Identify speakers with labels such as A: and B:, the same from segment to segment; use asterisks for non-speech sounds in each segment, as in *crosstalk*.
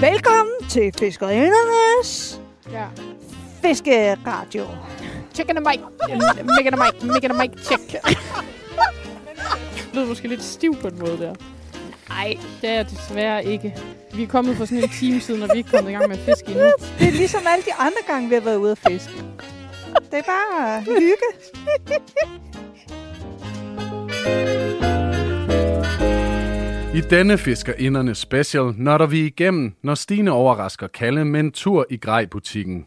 A: Velkommen til Fiskerindernes
B: Ja.
A: Fiskeradio.
B: Check in the mic. Make in the mic. Make in the mic. Check. Det lød måske lidt stiv på en måde der. Nej, det er jeg desværre ikke. Vi er kommet for sådan en time siden, og vi er ikke kommet i gang med at fiske endnu.
A: Det er ligesom alle de andre gange, vi har været ude at fiske. Det er bare hygge.
C: I denne Fiskerindernes special nørder vi igennem, når Stine overrasker Kalle med en tur i grejbutikken.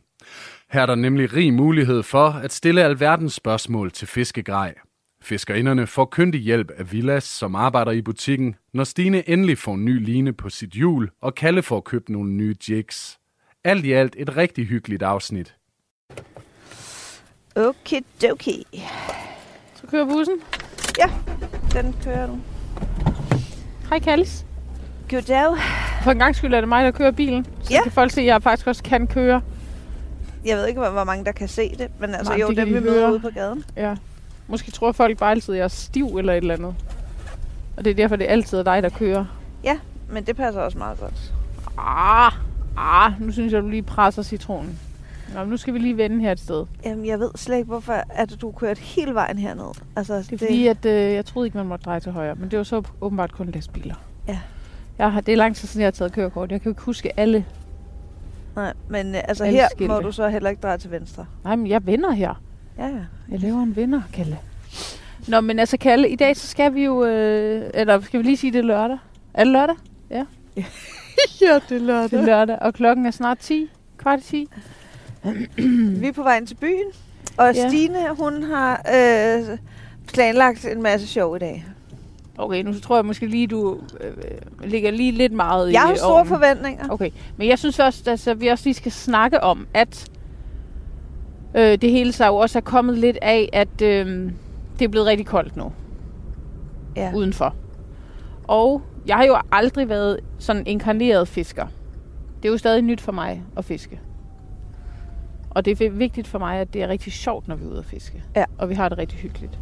C: Her er der nemlig rig mulighed for at stille alverdens spørgsmål til fiskegrej. Fiskerinderne får kyndig hjælp af Villas, som arbejder i butikken, når Stine endelig får en ny line på sit hjul, og Kalle får købt nogle nye jigs. Alt i alt et rigtig hyggeligt afsnit.
A: Okay, okay.
B: Så kører bussen.
A: Den kører du.
B: Hej Kallis.
A: Goddag.
B: For en gang skyld er det mig, der kører bilen. Så
A: Ja.
B: kan folk se, at jeg faktisk også kan køre.
A: Jeg ved ikke, hvor hvor mange der kan se det, men altså
B: Nej,
A: Nej, jo,
B: det kan
A: dem vi
B: de
A: møder
B: høre.
A: ude på gaden.
B: Ja. Måske tror folk bare altid, at jeg er stiv eller et eller andet. Og det er derfor, det er altid dig, der kører.
A: Men det passer også meget godt.
B: Ah, ah, nu synes jeg, du lige presser citronen. Nå, men nu skal vi lige vende her et sted.
A: Jamen, jeg ved slet ikke, hvorfor at du kørt hele vejen herned. Altså, det,
B: Det er fordi, at øh, jeg troede ikke, man måtte dreje til højre, men det var så åbenbart kun lastbiler.
A: Ja.
B: Jeg har, det er lang tid siden, jeg har taget kørekort. Jeg kan jo ikke huske alle.
A: Nej, men øh, altså
B: Alle
A: her må
B: skilte.
A: du så heller ikke dreje til venstre.
B: Nej, men jeg vinder her.
A: Ja, ja.
B: Jeg laver en vinder, Kalle. Nå, men altså Kalle, i dag så skal vi jo... Øh, eller skal vi lige sige, det er lørdag? Er det lørdag? Ja.
A: ja, det lader
B: Det er lørdag, og klokken er snart 10. Kvart i 10.
A: Vi er på vejen til byen, og
B: Ja.
A: ja. Stine, hun har øh, planlagt en masse sjov i dag.
B: Okay, nu tror jeg måske lige, du øh, øh, ligger lige lidt meget i
A: Jeg har store
B: ovnen.
A: forventninger.
B: Okay, men jeg synes også, altså, vi også lige skal snakke om, at øh, det hele sig jo også er kommet lidt af, at øh, det er blevet rigtig koldt nu
A: Ja.
B: udenfor. Og jeg har jo aldrig været sådan inkarneret fisker. Det er jo stadig nyt for mig at fiske. Og det er vigtigt for mig, at det er rigtig sjovt, når vi er ude at fiske.
A: Ja.
B: Og vi har det rigtig hyggeligt.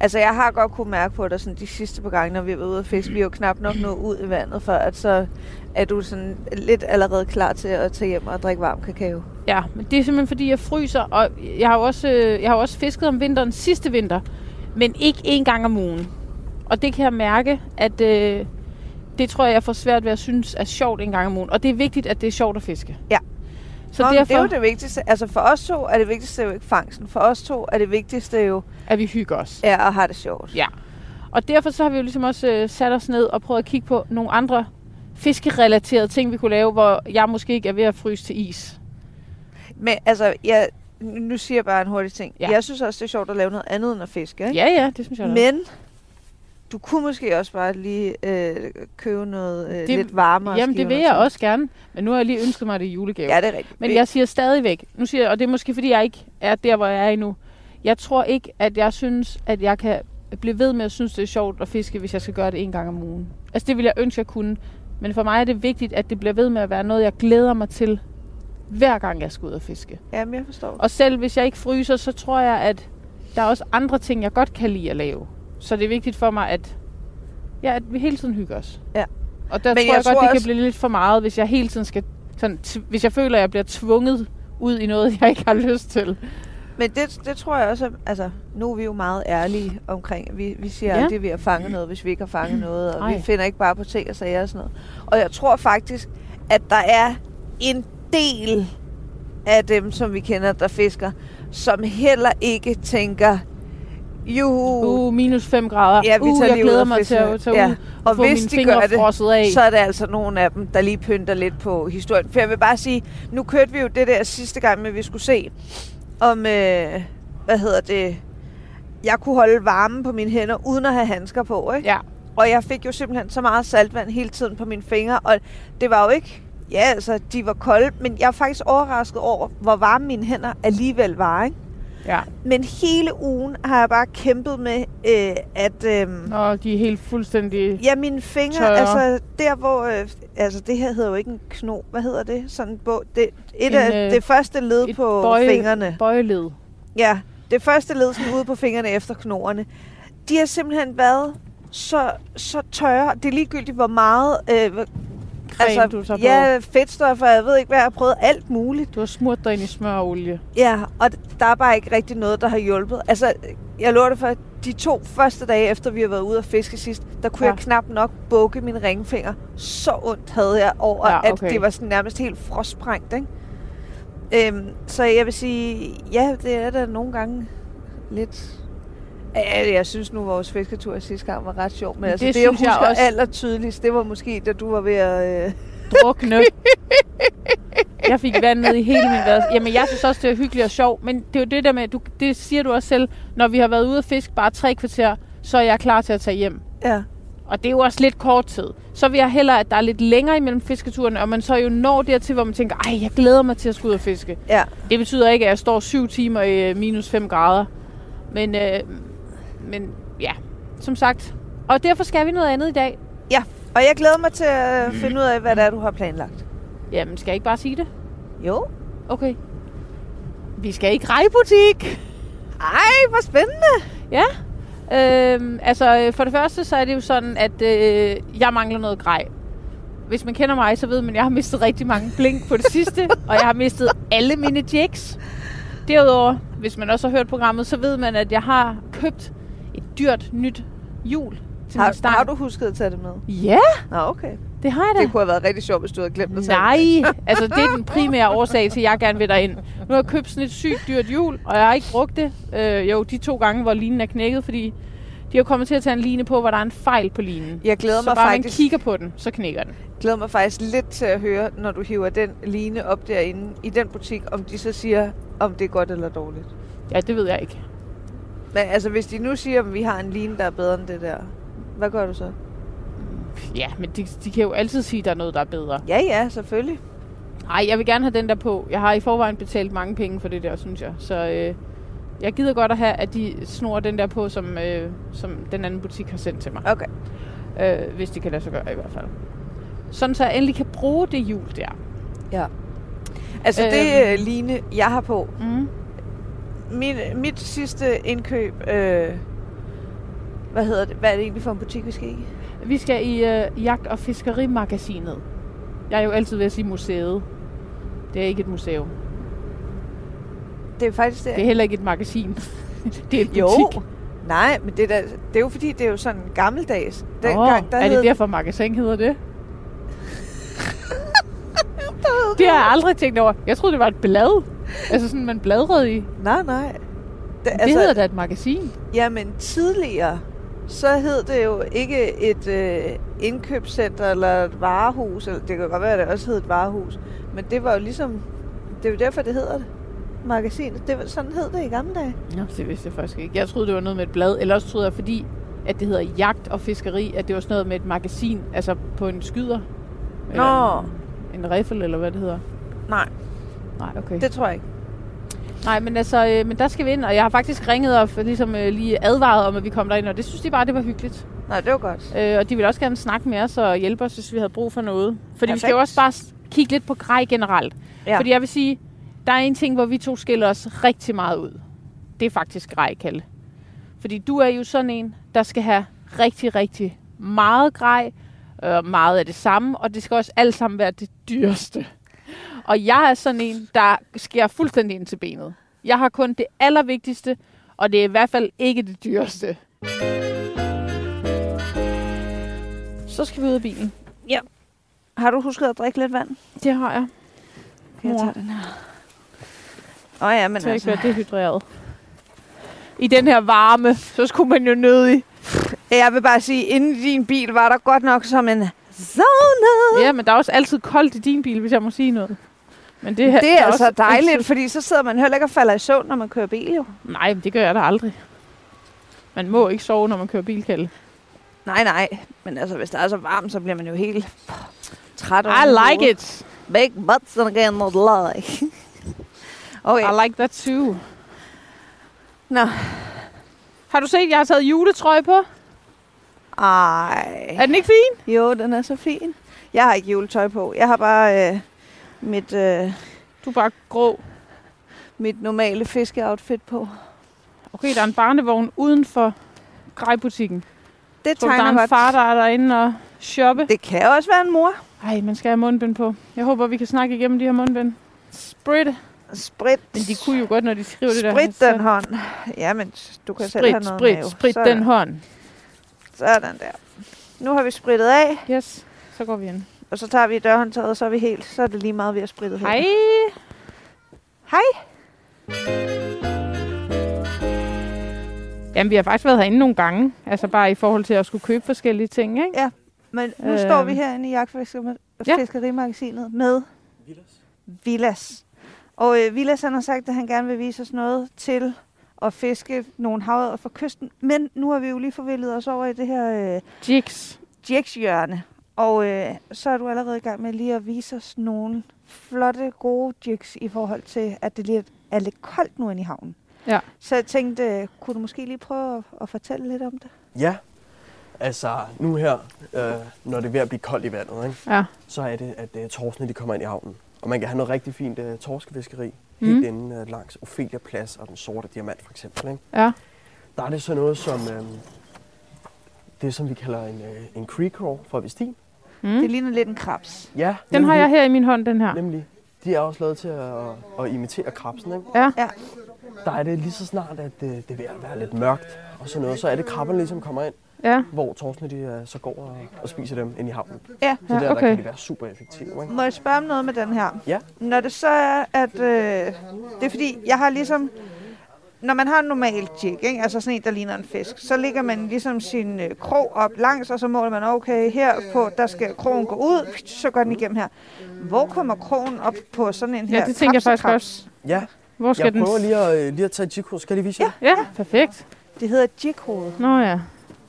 A: Altså, jeg har godt kunne mærke på dig sådan, de sidste par gange, når vi var ude at fiske. Vi er jo knap nok nået ud i vandet, for at så er du sådan lidt allerede klar til at tage hjem og drikke varm kakao.
B: Ja, men det er simpelthen fordi, jeg fryser, og jeg har jo også, øh, jeg har jo også fisket om vinteren sidste vinter, men ikke én gang om ugen. Og det kan jeg mærke, at øh, det tror jeg, jeg får svært ved at synes er sjovt en gang om ugen. Og det er vigtigt, at det er sjovt at fiske.
A: Ja.
B: Så
A: Nå, men
B: derfor
A: Det er jo det vigtigste. Altså, for os to er det vigtigste jo ikke fangsten. For os to er det vigtigste jo
B: at vi hygger os.
A: ja, at have det sjovt.
B: Ja. Og derfor så har vi jo ligesom også øh, sat os ned og prøvet at kigge på nogle andre fiskerelaterede ting, vi kunne lave, hvor jeg måske ikke er ved at fryse til is.
A: Men altså, jeg, nu siger jeg bare en hurtig ting.
B: Ja.
A: Ja. Jeg synes også, det er sjovt at lave noget andet end at fiske. Ikke?
B: Ja, ja, det synes jeg da.
A: Men du kunne måske også bare lige øh, købe noget øh, det, lidt varmere.
B: Jamen, det
A: skiver
B: vil
A: noget
B: jeg
A: til.
B: også gerne. Men nu har jeg lige ønsket mig det i julegave.
A: Ja, det er rigtigt.
B: Men jeg siger stadigvæk, nu siger jeg, og det er måske fordi, jeg ikke er der, hvor jeg er endnu. Jeg tror ikke, at jeg synes, at jeg kan blive ved med at synes, det er sjovt at fiske, hvis jeg skal gøre det en gang om ugen. Altså det vil jeg ønske, jeg kunne. Men for mig er det vigtigt, at det bliver ved med at være noget, jeg glæder mig til, hver gang jeg skal ud og fiske.
A: Jamen, jeg forstår.
B: Og selv hvis jeg ikke fryser, så tror jeg, at der er også andre ting, jeg godt kan lide at lave. Så det er vigtigt for mig, at, ja, at vi hele tiden hygger os.
A: Ja.
B: Og der
A: Men
B: Men tror jeg,
A: jeg
B: godt,
A: tror
B: det kan
A: også-
B: blive lidt for meget, hvis jeg hele tiden skal... Sådan, t- hvis jeg føler, at jeg bliver tvunget ud i noget, *laughs* jeg ikke har lyst til.
A: Men det, det tror jeg også, at- altså, nu er vi jo meget ærlige omkring, at vi, vi siger
B: Ja.
A: ja. at vi har fanget noget, hvis vi ikke har
B: *clears throat*
A: fanget noget, og
B: Ej.
A: vi finder ikke bare på ting og sager og sådan noget. Og jeg tror faktisk, at der er en del af dem, som vi kender, der fisker, som heller ikke tænker, juhu,
B: Uh, minus 5 grader.
A: Ja, vi
B: uh,
A: tager
B: jeg
A: lige ud
B: glæder
A: og
B: mig til
A: fisker.
B: at tage
A: Ja.
B: ud og,
A: Og
B: få
A: hvis
B: mine
A: de
B: fingre
A: gør det,
B: frosset af.
A: så er der altså nogle af dem, der lige pynter lidt på historien. For jeg vil bare sige, nu kørte vi jo det der sidste gang, med at vi skulle se, om, øh, hvad hedder det, jeg kunne holde varmen på mine hænder, uden at have handsker på, ikke?
B: Ja,
A: Og jeg fik jo simpelthen så meget saltvand hele tiden på mine fingre, og det var jo ikke, ja altså, de var kolde, men jeg er faktisk overrasket over, hvor varme mine hænder alligevel var, ikke?
B: ja.
A: Men hele ugen har jeg bare kæmpet med, øh, at... Øh,
B: Nå, de er helt fuldstændig...
A: Ja, mine fingre,
B: Tørre.
A: Tørre. altså der hvor, øh, altså det her hedder jo ikke en kno, hvad hedder det? Sådan på, det, et
B: En,
A: en, af,
B: øh,
A: det første led
B: et
A: på
B: bøje-
A: fingrene.
B: Bøjeled.
A: Ja, det første led sådan ude på fingrene efter knoerne. De har simpelthen været så, så tørre. Det er ligegyldigt, hvor meget øh,
B: creme, altså, du tager på.
A: ja, fedtstoffer, jeg ved ikke hvad, jeg har prøvet alt muligt.
B: Du har smurt dig ind i smør og olie.
A: Ja, og d- der er bare ikke rigtig noget, der har hjulpet. Altså, jeg lover det for, de to første dage, efter vi har været ude og fiske sidst, der kunne
B: Ja.
A: ja. jeg knap nok bukke min ringfinger. Så ondt havde jeg over,
B: Ja,
A: ja, okay.
B: okay.
A: at det var sådan nærmest helt frostprængt, ikke? Øhm, så jeg vil sige, ja, det er da nogle gange lidt... Ja, jeg synes nu, vores fisketur sidste gang var ret sjov, men
B: Det
A: det altså, det jeg
B: synes jeg
A: husker jeg
B: også.
A: også... allertydeligst, det var måske, da du var ved at... Øh,
B: drukne. Jeg fik vand ned i hele min vads. Jamen, jeg synes også, det er hyggeligt og sjovt, men det er jo det der med, du, det siger du også selv, når vi har været ude og fiske bare tre kvarter, så er jeg klar til at tage hjem.
A: ja.
B: Og det er jo også lidt kort tid. Så vil jeg hellere, at der er lidt længere imellem fisketurene, og man så jo når dertil, hvor man tænker, ej, jeg glæder mig til at skulle ud og fiske.
A: Ja,
B: Det betyder ikke, at jeg står syv timer i øh, minus 5 grader. Men, øh, men ja, som sagt. Og derfor skal vi noget andet i dag.
A: ja. Og jeg glæder mig til at finde ud af, hvad det er, du har planlagt.
B: Jamen, skal jeg ikke bare sige det?
A: Jo.
B: Okay. Vi skal i grejbutik.
A: Ej, hvor spændende.
B: Ja. Øhm, altså, øh, for det første, så er det jo sådan, at øh, jeg mangler noget grej. Hvis man kender mig, så ved man, at jeg har mistet rigtig mange blink på det
A: *laughs*
B: sidste, og jeg har mistet alle mine jigs. Derudover, hvis man også har hørt programmet, så ved man, at jeg har købt et dyrt nyt hjul til min
A: Har,
B: stang.
A: har du husket at tage det med?
B: Ja,
A: Nå, okay.
B: det har jeg da.
A: Det kunne have været rigtig sjovt, hvis du havde glemt at tage
B: Nej,
A: det.
B: altså det er den primære årsag til, at jeg gerne vil derind. Nu har jeg købt sådan et sygt dyrt hjul, og jeg har ikke brugt det. Øh, jo, de to gange, hvor linen er knækket, fordi de har kommet til at tage en line på, hvor der er en fejl på linen.
A: Jeg glæder
B: så
A: mig
B: bare
A: faktisk-
B: man kigger på den, så knækker den.
A: Jeg glæder mig faktisk lidt til at høre, når du hiver den line op derinde i den butik, om de så siger, om det er godt eller dårligt.
B: Ja, det ved jeg ikke.
A: Men altså, hvis de nu siger, at vi har en line, der er bedre end det der, hvad gør du så?
B: Ja, men de, de kan jo altid sige, at der er noget, der er bedre.
A: Ja, ja, selvfølgelig.
B: Nej, jeg vil gerne have den der på. Jeg har i forvejen betalt mange penge for det der, synes jeg. Så øh, jeg gider godt at have, at de snor den der på, som, øh, som den anden butik har sendt til mig.
A: Okay.
B: Øh, hvis det kan lade sig gøre i hvert fald. Sådan så jeg endelig kan bruge det hjul der.
A: Ja. Altså,
B: Øhm.
A: øhm. det øh, line, jeg har på,
B: Mm.
A: Min, mit sidste indkøb, øh, hvad hedder det? Hvad er det egentlig for en butik, vi skal i?
B: Vi skal i øh, jagt- og fiskerimagasinet. Jeg er jo altid ved at sige museet. Det er ikke et museum.
A: Det er faktisk
B: Det er heller ikke et magasin. *laughs* det er et butik.
A: Jo. Nej, men det er, da, det er jo fordi, det er jo sådan gammeldags. Den
B: Åh,
A: gang, der
B: er det
A: *laughs* hed,
B: derfor magasin hedder det? Det har jeg aldrig tænkt over. Jeg troede, det var et blad. Altså sådan, man bladrede i. Det
A: Nej, nej. Det,
B: altså, hedder da et magasin.
A: Jamen tidligere, så hed det jo ikke et øh, indkøbscenter eller et varehus. Eller, det kan godt være, at det også hed et varehus. Men det var jo ligesom... Det er jo derfor, det hedder det. Magasinet. Det var, sådan hed det i gamle dage.
B: Nå, det vidste jeg faktisk ikke. Jeg troede, det var noget med et blad. Eller også troede jeg, fordi at det hedder jagt og fiskeri, at det var sådan noget med et magasin, altså på en skyder. Eller
A: Nå.
B: en, en riffel, eller hvad det hedder.
A: Nej,
B: Nej, okay.
A: det tror jeg ikke.
B: Nej, men altså, øh, men der skal vi ind, og jeg har faktisk ringet og f- ligesom øh, lige advaret om, at vi kom derind, og det synes de bare, det var hyggeligt.
A: Nej, det var godt.
B: Øh, og de ville også gerne snakke med os og hjælpe os, hvis vi havde brug for noget. Fordi vi skal jo
A: Perfekt.
B: også bare s- kigge lidt på grej generelt. Ja.
A: Ja.
B: Fordi jeg vil sige, der er en ting, hvor vi to skiller os rigtig meget ud. Det er faktisk grej, Kalle. Fordi du er jo sådan en, der skal have rigtig, rigtig meget grej. Øh, meget af det samme, og det skal også alt sammen være det dyreste. Og jeg er sådan en, der skærer fuldstændig ind til benet. Jeg har kun det allervigtigste, og det er i hvert fald ikke det dyreste. Så skal vi ud af bilen.
A: Har du husket at drikke lidt vand?
B: Det har jeg. Mor.
A: Jeg tager den her. Åh oh, ja, men
B: Så jeg ikke
A: altså,
B: bliver dehydreret. I den her varme, så skulle man jo nødig.
A: jeg vil bare sige, inden i din bil var der godt nok som en sauna.
B: Ja, men der er også altid koldt i din bil, hvis jeg må sige noget. Men det, her,
A: Det er
B: der
A: altså
B: også
A: dejligt,
B: altid-
A: fordi så sidder man heller ikke og falder i søvn, når man kører bil jo.
B: Nej, men det gør jeg da aldrig. Man må ikke sove, når man kører bilkælde.
A: Nej, nej. Men altså, hvis der er så varmt, så bliver man jo helt træt.
B: I like it.
A: Big butts and again not like. okay.
B: I like that too.
A: Nå.
B: Har du set, jeg har taget juletrøje på?
A: Ej.
B: Er den ikke fin?
A: Jo, den er så fin. Jeg har ikke juletøj på. Jeg har bare øh, mit, øh,
B: Du er bare grå.
A: mit normale fiskeoutfit på.
B: Okay, der er en barnevogn uden for grejbutikken.
A: Det
B: Tror du, der er
A: tegner
B: en
A: godt.
B: far, der er derinde og shoppe.
A: Det kan også være en mor.
B: Ej, man skal have mundbind på. Jeg håber, vi kan snakke igennem de her mundbind. Sprit.
A: Sprit.
B: Men de kunne jo godt, når de skriver det der.
A: Sprit
B: Så-
A: den hånd. Ja, men du kan selv have
B: Sprit,
A: noget
B: sprit,
A: mave.
B: sprit
A: Sådan.
B: den hånd.
A: Sådan der. Nu har vi sprittet af,
B: Yes, så går vi ind.
A: og så tager vi dørhåndtaget, og så er vi helt. Så er det lige meget, vi har sprittet her.
B: Hej.
A: Hej.
B: Jamen, vi har faktisk været herinde nogle gange. Altså bare i forhold til at skulle købe forskellige ting, ikke?
A: Men nu
B: Øhm.
A: øh... står vi herinde i
B: Ja.
A: jagtfiskerimagasinet med Villas. Og øh, Villas han har sagt, at han gerne vil vise os noget til at fiske nogle havøjer fra kysten. Men nu har vi jo lige forvildet os over i det her øh,
B: Jigs.
A: jigshjørne. Og øh, så er du allerede i gang med lige at vise os nogle flotte, gode jigs i forhold til, at det lige er lidt koldt nu inde i havnen.
B: Ja.
A: Så jeg tænkte, øh, kunne du måske lige prøve at, at fortælle lidt om det?
D: Ja, altså nu her, øh, når det er ved at blive koldt i vandet, ikke,
B: Ja.
D: så er det, at øh, torskene de kommer ind i havnen. Og man kan have noget rigtig fint øh, torskefiskeri
B: Mm.
D: mm. helt inde øh, langs Ophelia Plads og den sorte diamant for eksempel. Ikke?
B: Ja.
D: Der er det sådan noget som øh, det, som vi kalder en, øh, en creek crawl fra Vestin.
A: Mm. Det
B: Mm.
A: ligner lidt en krabs.
D: Ja,
B: Den har jeg her i min hånd, den her.
D: Nemlig, de er også lavet til at, at imitere krabsen, ikke?
B: Ja.
A: Ja.
D: Der er det lige så snart, at øh, det, det er ved at være lidt mørkt og sådan noget, så er det krabberne ligesom kommer ind,
B: Ja.
D: hvor torskene de øh, så går og, og spiser dem ind i havnen.
A: Ja,
D: Så ja, der,
B: Ja,
D: okay. der kan de
B: okay.
D: være super effektive. Ikke?
A: Må jeg spørge om noget med den her?
D: Ja.
A: Når det så er, at... Øh, det er fordi, jeg har ligesom... Når man har en normal jig, ikke? altså sådan en, der ligner en fisk, så ligger man ligesom sin øh, krog op langs, og så måler man, okay, her på, der skal krogen gå ud, så går den igennem her. Hvor kommer krogen op på sådan en her?
B: Ja, det tænker jeg faktisk
A: krabsekrabs?
B: også.
D: Ja,
B: Hvor skal
D: jeg
B: den...
D: prøver lige at, øh, lige at tage et jigkurs. Skal jeg lige vise jer? Ja.
B: Ja, perfekt.
A: Det hedder jighoved,
B: Nå ja.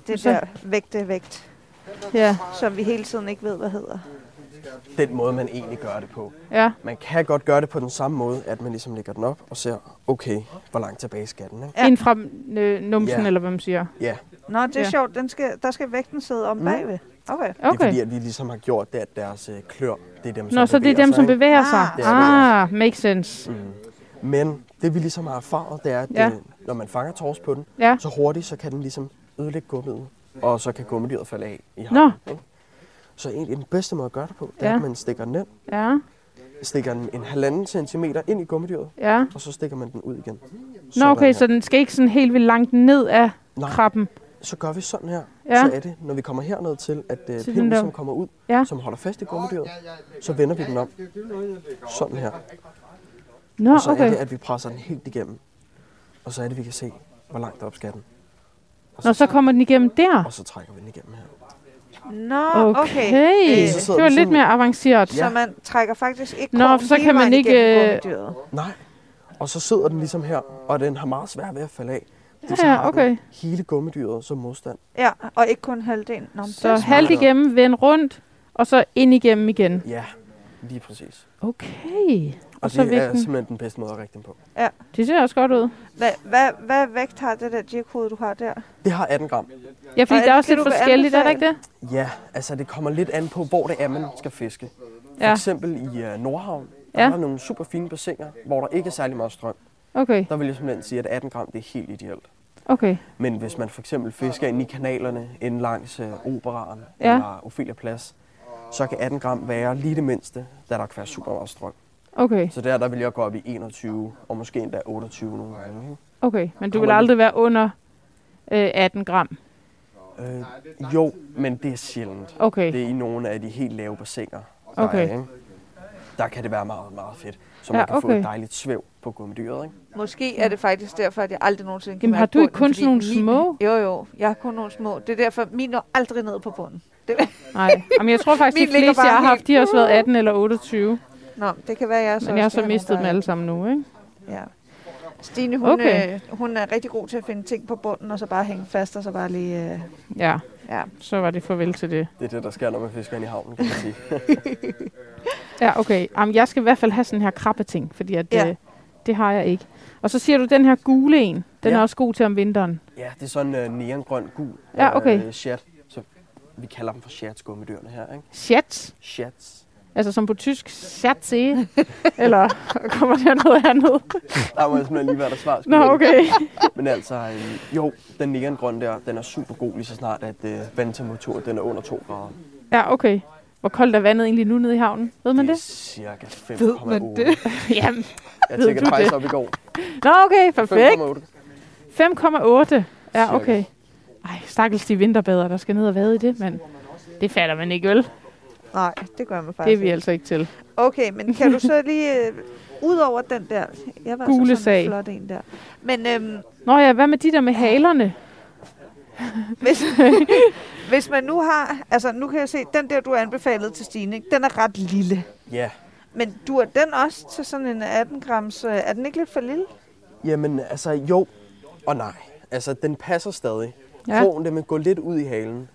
A: det
B: Så-
A: der vægte vægt,
B: Ja,
A: som vi hele tiden ikke ved, hvad hedder.
D: Den måde, man egentlig gør det på.
B: ja.
D: Man kan godt gøre det på den samme måde, at man ligesom lægger den op og ser, okay, hvor langt tilbage skal den, ikke?
A: Ja.
B: Ind fra øh, numsen,
D: Ja.
B: eller hvad man siger.
D: Ja,
A: Nå, det er
B: Ja.
A: ja. sjovt, den skal, der skal vægten sidde om
D: Mm.
A: bagved. Okay.
D: det er fordi,
B: Okay.
D: at vi ligesom har gjort det, at deres øh, klør, det er dem, som
B: Nå, så det er
D: bevæger
B: dem,
D: sig,
B: som
D: ikke? Mm.
B: bevæger sig.
A: Ah.
D: Det er
B: Ah, makes sense.
D: Men det vi ligesom har erfaret, det er, at
B: Ja.
D: ja. det, når man fanger tors på den,
B: Ja.
D: så hurtigt, så kan den ligesom ødelægge gummiet, og så kan gummidyret falde af i
B: Nå.
D: havnen. ikke? Så egentlig den bedste måde at gøre det på, det
B: Ja.
D: er, at man stikker den ind,
B: Ja,
D: stikker en, en halvanden centimeter ind i gummidyret,
B: ja.
D: og så stikker man den ud igen.
B: Nå,
D: Sådan
B: okay,
D: her.
B: så den skal ikke sådan helt vildt langt ned af
D: Nej,
B: krabben.
D: så gør vi sådan her.
B: Ja.
D: Ja. Så er det, når vi kommer herned til, at uh,
B: den
D: pinden
B: der.
D: som kommer ud,
B: Ja.
D: ja. som holder fast i gummidyret, så vender vi den om. Sådan her.
B: Nå,
D: Og så er
B: okay.
D: det, at vi presser den helt igennem. Og så er det, vi kan se, hvor langt op skal den. Og
B: Nå, så kommer den igennem der.
D: og så trækker vi den igennem her.
A: Nå, okay.
B: Okay,
A: Øh,
D: Så sidder
B: det var
D: den
B: lidt
D: sådan-
B: mere avanceret.
A: Så
D: Ja.
A: man trækker faktisk ikke
B: Nå,
A: krogen
B: for så
A: hele
B: kan man
A: vejen
B: ikke,
A: igennem
B: øh,
A: gummidyret.
D: Nej. Og så sidder den ligesom her, og den har meget svært ved at falde af. Fordi så
B: Ja,
D: har den
B: okay.
D: hele gummidyret som modstand.
A: Ja, og ikke kun halvdelen. Nå, men det
B: Så
A: er smart.
B: halvt igennem, vend rundt, og så ind igennem igen.
D: Ja, lige præcis.
B: Okay. Og
D: Og, og
B: så
D: det er
B: vægten.
D: simpelthen den bedste måde at række den på.
B: Det ser også godt ud.
A: Hvad, hvad, hvad vægt har det der jighoved, du har der?
D: Det har 18 gram.
B: Ja, fordi
A: Og
B: der er
A: kan
B: også lidt
A: du
B: forskelligt, er der ikke
A: anbefale-
B: det?
D: Ja, altså det kommer lidt an på, hvor det er, man skal fiske. For
B: Ja.
D: eksempel i uh, Nordhavn, der
B: Ja.
D: er der nogle super fine bassiner, hvor der ikke er særlig meget strøm.
B: Okay,
D: Der vil jeg simpelthen sige, at 18 gram det er helt ideelt.
B: okay.
D: Men hvis man for eksempel fisker ind i kanalerne, inde langs uh, operaren
B: Ja.
D: ja. eller Ophelia Plads, så kan 18 gram være lige det mindste, da der kan være super meget strøm.
B: Okay,
D: Så der, der vil jeg gå op i 21, og måske endda 28 nogle gange. ikke?
B: okay. Men du
D: Kommer
B: vil
D: den-
B: aldrig være under øh, 18 gram.
D: Øh, jo, men det er sjældent.
B: Okay,
D: Det er i nogle af de helt lave bassiner, der
B: Okay.
D: er, ikke? Der kan det være meget, meget fedt. Så
B: Ja,
D: man kan få
B: okay.
D: et dejligt svæv på gummidyret, ikke?
A: Måske er det faktisk derfor, at jeg aldrig nogensinde kan
B: Jamen, har
A: mærke
B: du ikke
A: bunden,
B: kun
A: fordi
B: sådan nogle
A: min-
B: små?
A: Jo, jo. Jeg har kun nogle små. Det er derfor, min når aldrig ned på bunden.
B: nej. Jamen, jeg tror *laughs* faktisk,
A: Min
B: de
A: ligger
B: fleste,
A: bare
B: jeg har haft,
A: helt-
B: de har også været 18 eller 28.
A: Nå, det kan være, jeg så
B: Men jeg har
A: også
B: så
A: skal have
B: mistet dem
A: nogle,
B: alle sammen nu, ikke?
A: der- Ja. Stine, hun,
B: Okay.
A: okay. øh, hun er rigtig god til at finde ting på bunden, og så bare hænge fast, og så bare lige... Øh,
B: Ja,
A: ja.
B: så var det farvel til det.
D: Det er det, der sker, når man fisker ind i havnen, kan man sige.
B: Ja, okay. Jamen, jeg skal i hvert fald have sådan her krabbe ting, fordi at, ja.
A: Ja.
B: øh, det har jeg ikke. Og så siger du, den her gule en, den ja.
D: Ja.
B: er også god til om vinteren.
D: ja, det er sådan øh, neongrøn, gul
B: Ja, okay.
D: øh, chat. Så vi kalder dem for chats, gummidyrene her, ikke?
B: Schatz,
D: Chats.
B: altså som på tysk, *laughs* schatze, eller kommer der noget andet?
D: Der må jeg simpelthen lige være der svar.
B: Nå, okay.
D: Men altså, øh, jo, den neongrøn der, den er super god lige så snart, at øh, vandtemperaturen den er under 2 grader.
B: Ja, okay. Hvor koldt er vandet egentlig nu nede i havnen? Ved man
D: det er
B: det?
D: cirka 5,8.
A: Ved man det?
B: *laughs* Jamen.
D: Jeg
B: Ved
D: tjekkede
B: du
D: faktisk
B: det?
D: op i går.
B: Nå, okay. Perfekt.
D: 5,8.
B: 5,8. Ja,
D: Cirka.
B: okay. Ej, stakkels de vinterbader, der skal ned og vade i det, men det fatter man ikke, vel?
A: Nej, det gør man
B: Det er
A: faktisk
B: vi
A: ikke.
B: altså ikke til.
A: Okay, men kan du så lige... Øh, Udover den der... Jeg var
B: Gule
A: Gule så sådan
B: sag.
A: en flot en der. Men øhm,
B: Nå ja, hvad med de der med halerne?
A: hvis, *laughs* hvis man nu har... Altså, nu kan jeg se, den der, du anbefalede til Stine, ikke? den er ret lille.
D: Ja.
A: Men du er den også til sådan en 18 grams... Øh, er den ikke lidt for lille?
D: Jamen, altså jo og nej. Altså, den passer stadig.
B: Ja.
D: Ja. Krogen, den vil gå lidt ud i halen.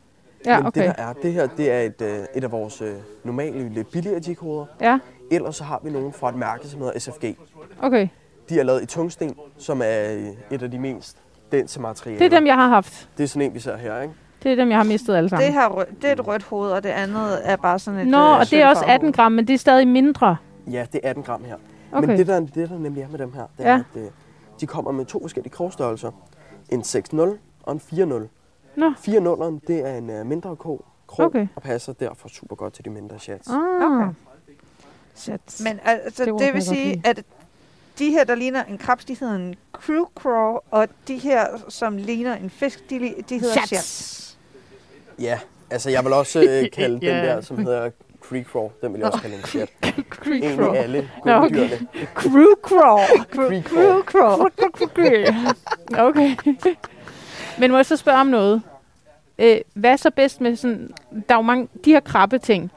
B: Ja,
D: Men
B: okay.
D: det der er, det her, det er et, øh, et af vores øh, normale lidt billigere jighoveder.
B: Ja,
D: Ellers så har vi nogen fra et mærke, som hedder SFG.
B: okay.
D: De er lavet i tungsten, som er øh, et af de mest dense materialer.
B: Det er dem, jeg har haft.
D: det er sådan en, vi ser her, ikke?
B: Det er dem, jeg har mistet
A: Det,
B: alle sammen.
A: her, rød- det er et rødt hoved, og det andet er bare sådan et...
B: Nå,
A: øh,
B: og det er også
A: sølvfarvet
B: 18 gram, men det er stadig mindre.
D: Ja, det er 18 gram her.
B: Okay.
D: Men det der, det, der nemlig er med dem her, det er,
B: Ja.
D: ja. at øh, de kommer med to forskellige krogstørrelser. En 6-0 og en 4-0.
B: Nå.
D: 4-0'eren, det er en øh, mindre krog, krog
B: Okay.
D: og passer derfor super godt til de mindre chats.
B: Ah.
A: Okay.
B: Shit.
A: Men altså,
B: Det
A: det,
B: ord
A: det vil
B: kan jeg godt
A: sige,
B: lide.
A: at de her, der ligner en krebs, de hedder en crew craw, og de her, som ligner en fisk, de, li- de hedder
B: Shats.
A: shats. shats.
D: Ja, altså jeg vil også
B: *laughs*
D: øh, kalde
B: Ja.
D: den der, som hedder Creek Crawl, den vil jeg også kalde en
B: *laughs*
D: chat.
B: Crew crawl.
D: Egentlig alle
B: Nå, okay.
D: guldyrene.
B: Crew crawl.
D: Crew
A: Crew crawl.
B: Okay. Men må jeg så spørge om noget? Øh, hvad er så bedst med sådan... Der er jo mange... De her krabbe ting.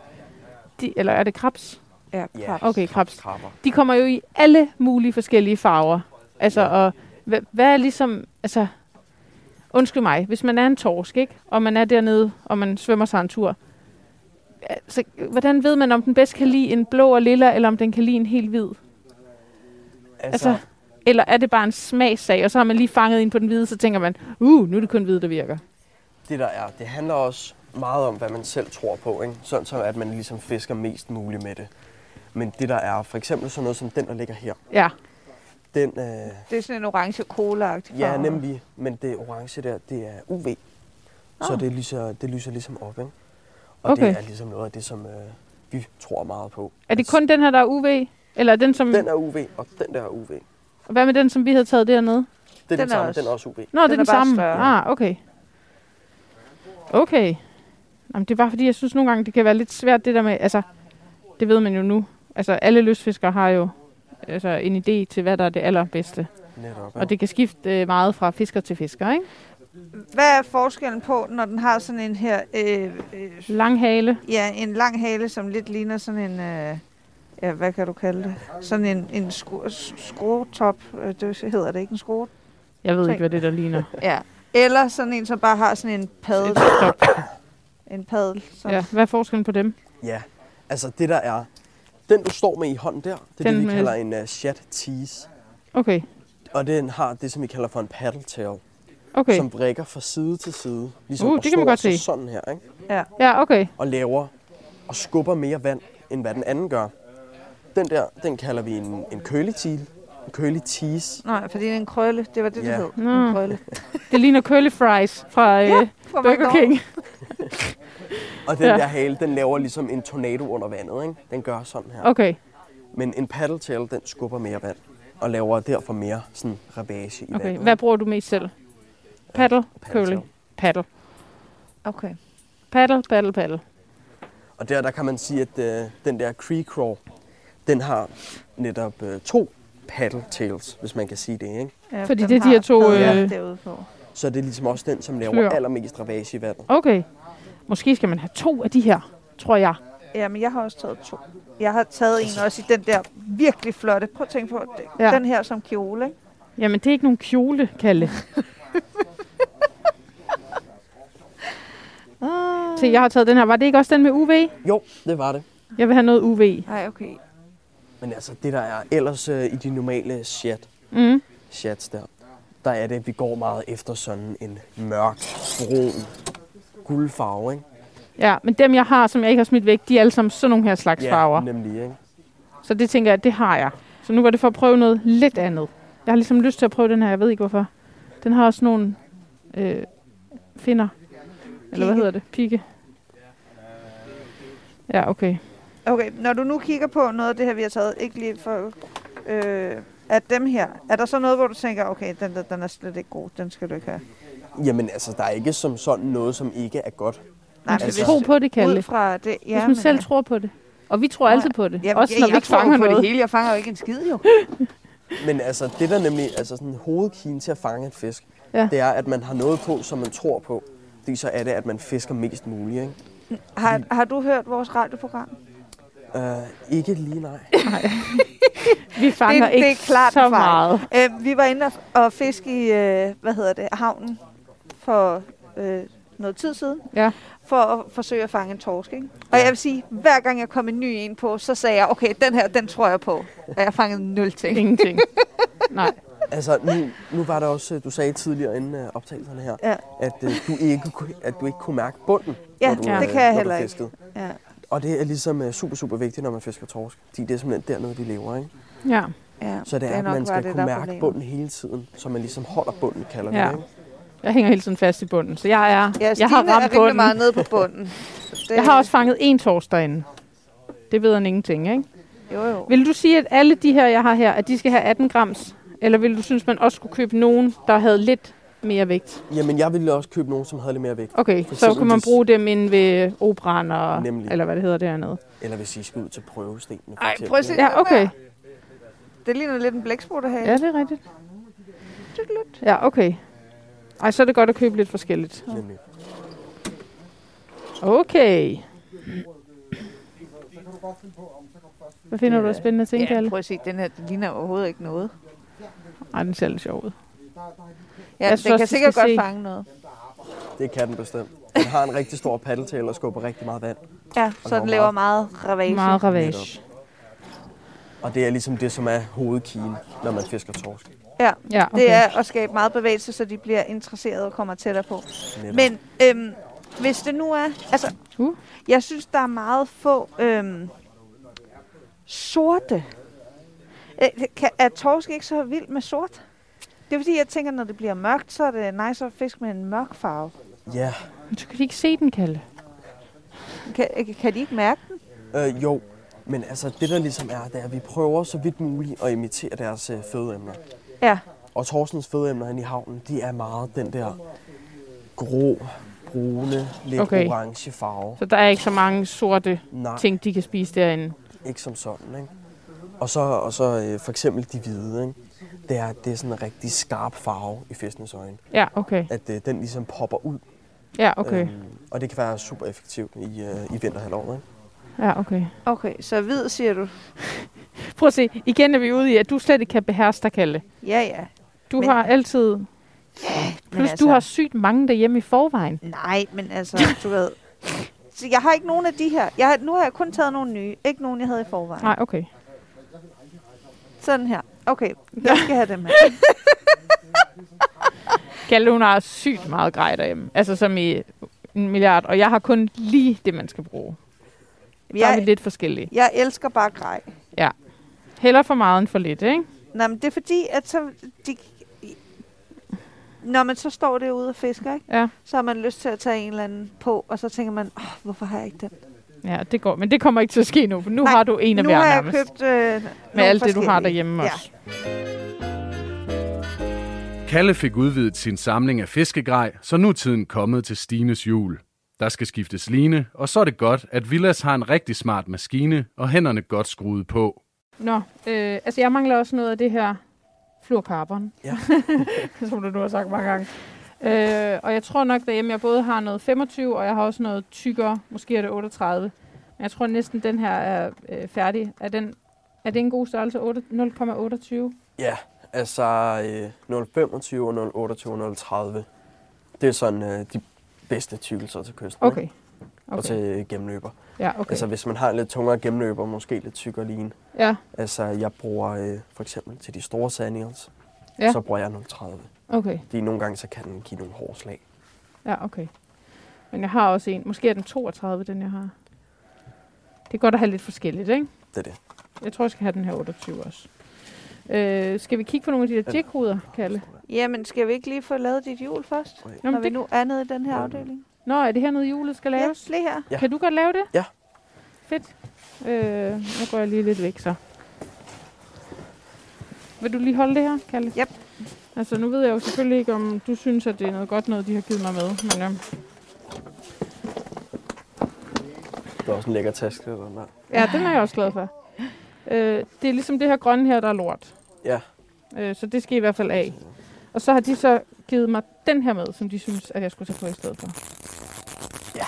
B: De, eller er det krabs?
A: Ja,
D: Ja.
A: krabs.
B: Okay, krabs.
D: Krabber.
B: De kommer jo i alle mulige forskellige farver. Altså, og hvad, hvad er ligesom... Altså, undskyld mig. Hvis man er en torsk, ikke? Og man er dernede, og man svømmer sig en tur. Altså, hvordan ved man, om den bedst kan lide en blå og lilla, eller om den kan lide en helt hvid?
D: Altså,
B: Altså, eller er det bare en smagssag, og så har man lige fanget ind på den hvide, så tænker man, uh, nu er det kun hvide, der virker.
D: det der er, det handler også meget om, hvad man selv tror på, ikke? Sådan så, at man ligesom fisker mest muligt med det. Men det der er, for eksempel sådan noget som den, der ligger her,
B: Ja,
D: den, øh,
A: Det er sådan en orange cola
D: ja nemlig, men det orange der, det er UV. Så det lyser, det lyser ligesom op, ikke? Og
B: Ah. Okay.
D: det er ligesom noget af det, som øh, vi tror meget på. Altså,
B: er det kun den her, der er UV? Eller er den, som,
D: Den er UV, og den der er UV. Det er
B: hvad med den, som vi havde taget dernede?
D: den,
A: Den er
D: den samme,
A: også-
D: den er også UV.
B: Nå, den det er den
A: er bare
B: samme.
A: større.
B: Ah, okay. Okay. Jamen, det er bare fordi, jeg synes nogle gange, det kan være lidt svært det der med, altså, det ved man jo nu. Altså, alle lystfiskere har jo altså, en idé til, hvad der er det allerbedste.
D: Netop,
B: Og det kan skifte øh, meget fra fisker til fisker, ikke?
A: Hvad er forskellen på, når den har sådan en her... Øh, øh,
B: Lang hale.
A: ja, en lang hale, som lidt ligner sådan en... Øh, ja, hvad kan du kalde det? Sådan en, en skru- s- skruetop. øh, Det hedder det ikke en skrue?
B: Jeg ved
A: Se.
B: ikke, hvad det der ligner.
A: Ja. Eller sådan en, som bare har sådan en padel.
B: Stop.
A: En padel. Som
B: Ja, hvad er forskellen på dem?
D: Ja, altså det der er, den du står med i hånden der, det er
B: Den
D: den det, vi
B: med-
D: kalder en uh, shat tease.
B: Okay,
D: Og den har det, som vi kalder for en paddle tail,
B: okay.
D: okay. som vrikker fra side til side. Ligesom
B: Uh, det
D: og
B: kan
D: snor
B: man godt
D: sig
B: se.
D: Sådan her, ikke?
B: Ja, okay.
D: Og laver og skubber mere vand, end hvad den anden gør. Den der, den kalder vi en, en curly teal. En curly tease.
A: Nej, fordi det er en krølle. Det var det,
D: Ja.
A: det hed.
B: Nå.
A: En krølle.
B: Det ligner curly fries fra øh, ja,
A: Fra
B: Burger
A: McDonald's.
B: King.
D: Og den
B: Ja.
D: ja. der hale, den laver ligesom en tornado under vandet, ikke? Den gør sådan her.
B: Okay,
D: Men en paddle tail, den skubber mere vand og laver derfor mere sådan ravage i
B: okay.
D: vandet.
B: Hvad bruger du mest selv? Paddle, curly,
D: tail.
B: paddle.
A: Okay.
B: Paddle, paddle, paddle.
D: Og der, der kan man sige, at øh, den der Cree Craw, den har netop øh, to paddle tails, hvis man kan sige det. Ikke?
A: Ja,
B: Fordi
A: den
B: det er de her
A: har
B: to,
A: padler
B: øh,
A: derude på.
D: Så det er ligesom også den, som laver
B: Klør.
D: allermest ravage i vandet.
B: Okay. Måske skal man have to af de her, tror jeg.
A: Ja, men jeg har også taget to. Jeg har taget en også i den der virkelig flotte. Prøv at tænke på det.
B: Ja.
A: Ja. den her som kjole. Ikke?
B: Jamen, det er ikke nogen kjole, Kalle. Se, jeg har taget den her. Var det ikke også den med UV?
D: Jo, det var det.
B: Jeg vil have noget UV.
A: Nej, okay.
D: Men altså, det der er ellers øh, i de normale chat,
B: Mm.
D: chats der, der er det, at vi går meget efter sådan en mørk, brun, guldfarve, ikke?
B: Ja, men dem, jeg har, som jeg ikke har smidt væk, de er alle sammen sådan nogle her slags farver.
D: nemlig, ikke?
B: Så det tænker jeg, det har jeg. Så nu var det for at prøve noget lidt andet. Jeg har ligesom lyst til at prøve den her, jeg ved ikke hvorfor. Den har også nogle øh, finder. Eller hvad
A: Pigge.
B: hedder det? Pigge. Ja, okay.
A: Okay, når du nu kigger på noget af det her, vi har taget, ikke lige for... Øh, at dem her, er der så noget, hvor du tænker, okay, den, der, den er slet ikke god, den skal du ikke have?
D: Jamen altså, der er ikke som sådan noget, som ikke er godt.
A: Nej,
B: Man
D: altså-
B: skal tro på det, Kalle.
A: ud fra det, ja,
B: Hvis man selv
A: øh,
B: tror på det. Og vi tror
A: Nej.
B: altid på det.
A: jamen,
B: Også
A: ja,
B: når
A: jeg
B: vi ikke
A: tror jo
B: fanger
A: på
B: noget.
A: det hele, jeg fanger jo ikke en skid,
B: *laughs*
A: jo.
D: Men altså, det der nemlig, altså sådan hovedkigen til at fange en fisk,
B: Ja.
D: ja. det er, at man har noget på, som man tror på. Fordi så er det, at man fisker mest muligt, ikke?
A: Har, har du hørt vores radioprogram?
D: Uh, ikke lige nej.
B: Vi fanger
A: det er
B: ikke
A: klart en
B: så
A: fejl.
B: meget.
A: Øh, vi var inde og, og fiske i, øh, hvad hedder det, havnen for øh, noget tid siden.
B: Ja.
A: For at forsøge at fange en torsk, ikke? Og jeg vil sige, hver gang jeg kom en ny en på, så sagde jeg, okay, den her, den tror jeg på. Og jeg fangede nul ting. *laughs*
B: Ingenting. Nej.
D: Altså, nu, nu var der også, øh, du sagde tidligere inden øh, optagelserne her,
A: Ja.
D: at, øh, du ikke, kunne- at du ikke kunne mærke bunden,
A: Ja,
D: når du,
B: det
D: øh,
A: kan jeg
D: når du
A: heller ikke.
D: fiskede.
A: Ja.
D: Og det er ligesom øh, super, super vigtigt, når man fisker torsk. Fordi det er simpelthen dernede, de lever, ikke?
B: Ja.
A: Ja,
D: Så det er,
A: er
D: at
A: nok
D: man
A: bare
D: skal
A: det, der
D: kunne
A: er
D: mærke
A: problemet.
D: bunden hele tiden, så man ligesom holder bunden, kalder vi
B: Ja.
D: det, ikke?
B: Jeg hænger hele tiden fast i bunden, så jeg
A: Ja,
B: er, jeg har
A: Stine er
B: ramt
A: rimelig
B: bunden.
A: meget nede på bunden. Det,
B: *laughs* Jeg har også fanget en torsk derinde. Det ved han ingenting, ikke?
A: Jo, jo.
B: Vil du sige, at alle de her, jeg har her, at de skal have 18 grams? Eller vil du synes, man også skulle købe nogen, der havde lidt mere vægt?
D: Jamen, jeg ville også købe nogen, som havde lidt mere vægt.
B: Okay,
D: For
B: så
D: eksempel
B: kunne man
D: hvis-
B: bruge dem inde ved operan og...
D: Nemlig.
B: Eller hvad det hedder dernede.
D: Eller hvis I skal ud til prøvestenene, for
A: Ej,
D: eksempel,
A: prøv at se.
D: ikke?
B: Ja, okay.
A: Det ligner lidt en blæksprutte her.
B: Ja, det er rigtigt. Ja, okay. Ej, så er det godt at købe lidt forskelligt.
D: Nemlig.
B: Okay. Hvad finder du af spændende ting,
A: Ja,
B: Kalle?
A: prøv at se, den her den ligner overhovedet ikke noget.
B: Ej, den ser lidt sjov ud.
A: Ja,
B: Jeg
A: den
B: synes
A: kan
B: også, vi
A: sikkert
B: skal
A: godt
B: se.
A: fange noget.
D: Det kan den bestemt. Den har en rigtig stor paddeltale og skubber rigtig meget vand.
A: Ja,
D: Og
A: så den
D: meget-
A: laver meget ravage.
B: Meget ravage.
D: Og det er ligesom det, som er hovedkigen, når man fisker torsk.
A: Ja,
B: Ja,
A: okay. det
B: okay.
A: er at skabe meget bevægelse, så de bliver interesserede og kommer tættere på.
D: Netop.
A: Men øhm, hvis det nu er... Altså,
B: Uh.
A: jeg synes, der er meget få øhm, sorte. Øh, kan, er torsk ikke så vild med sort? Det er fordi, jeg tænker, når det bliver mørkt, så er det nice at fiske med en mørk farve.
D: Ja,
B: Men så kan de ikke se den, Kalle.
A: Kan, kan de ikke mærke den?
D: øh, jo. Men altså, det der ligesom er, det er, at vi prøver så vidt muligt at imitere deres øh, fødeemner.
A: Ja,
D: Og Torsens fødeemner herinde i havnen, de er meget den der grå, brune, lidt
B: Okay.
D: okay. orange farve.
B: Så der er ikke så mange sorte
D: Nej,
B: ting, de kan spise derinde.
D: ikke som sådan, ikke? Og så, og så øh, for eksempel de hvide, ikke? Det er, det er sådan en rigtig skarp farve i fiskenes øjne.
B: Ja, okay.
D: At øh, den ligesom popper ud.
B: Ja, okay.
D: Øhm, og det kan være super effektivt i, øh, i vinterhalvåret, ikke?
B: Ja, okay.
A: okay. Så hvid, siger du.
B: Prøv at se. Igen er vi ude i, at du slet ikke kan beherske dig, Kalle.
A: Ja, ja.
B: Du
A: Men-
B: har altid... Plus,
A: altså-
B: du har sygt mange derhjemme i forvejen.
A: Nej, men altså, du ved... Så jeg har ikke nogen af de her. Jeg har, nu har jeg kun taget nogle nye. Ikke nogen, jeg havde i forvejen.
B: Nej, okay.
A: Sådan her. *laughs* Okay, jeg skal have dem her.
B: Kalle, hun har sygt meget grej derhjemme. Altså som i en milliard. Og jeg har kun lige det, man skal bruge. Der er vi
A: Jeg,
B: lidt forskellige.
A: jeg elsker bare grej.
B: Heller for meget end for lidt, ikke?
A: Nå, men det er fordi, at så... De, når man så står derude og fisker, ikke?
B: Ja.
A: så har man lyst til at tage en eller anden på, og så tænker man, oh, hvorfor har jeg ikke den?
B: Ja, det går. Men det kommer ikke til at ske nu, for nu
A: Nej,
B: har du en af
A: nu
B: hver
A: har jeg
B: nærmest.
A: købt øh,
B: med
A: nogle
B: alt det, du har
A: forskellige.
B: derhjemme
A: ja.
B: også.
C: Kalle fik udvidet sin samling af fiskegrej, så nu er tiden kommet til Stines jul. Der skal skiftes line, og så er det godt, at Villas har en rigtig smart maskine og hænderne godt skruet på.
B: Nå, øh, altså jeg mangler også noget af det her fluorkarbon.
D: Ja.
B: *laughs* Som du nu har sagt mange gange. Øh, og jeg tror nok derhjemme, jeg både har noget 25, og jeg har også noget tykkere. Måske er det 38. Men jeg tror næsten, den her er øh, færdig. Er, den, er det en god størrelse? 8 0,28?
D: Ja, altså øh, 025, 028, 030. Det er sådan øh, de bedste tykkelser til kysten. ikke?
B: Okay.
D: Og
B: okay.
D: til gennemløber. Okay.
B: Ja, okay.
D: Altså hvis man har en lidt tungere gennemløber, måske lidt tykkere line.
B: Ja,
D: Altså jeg bruger øh, for eksempel til de store sandings,
B: Ja.
D: ja. så bruger jeg 030.
B: okay.
D: Fordi nogle gange så kan den give nogle hårde slag.
B: Ja, okay. Men jeg har også en. Måske er den 32, den jeg har. Det er godt at have lidt forskelligt, ikke?
D: Det er det.
B: Jeg tror, jeg skal have den her 28 også. Øh, skal vi kigge på nogle af de der jighoveder, Kalle?
A: Jamen, skal vi ikke lige få lavet dit hjul først?
D: Nå,
B: Nå,
A: Når
B: men
A: vi
B: det...
A: nu er nede i den her afdeling.
B: Nå, er det her noget, hjulet skal
A: Ja,
B: laves?
A: lige her.
D: Ja.
B: Kan du godt lave det?
D: Ja.
B: fedt. Øh, nu går jeg lige lidt væk så. Vil du lige holde det her, Kalle?
A: Yep.
B: Altså, nu ved jeg jo selvfølgelig ikke, om du synes, at det er noget godt noget, de har givet mig med. Men øhm,
D: Det var også en lækker taske, det der.
B: ja, den er jeg også glad for. Øh, det er ligesom det her grønne her, der er lort.
D: Ja.
B: Øh, så det skal i hvert fald af. Og så har de så givet mig den her med, som de synes, at jeg skulle tage på i stedet for.
D: Ja.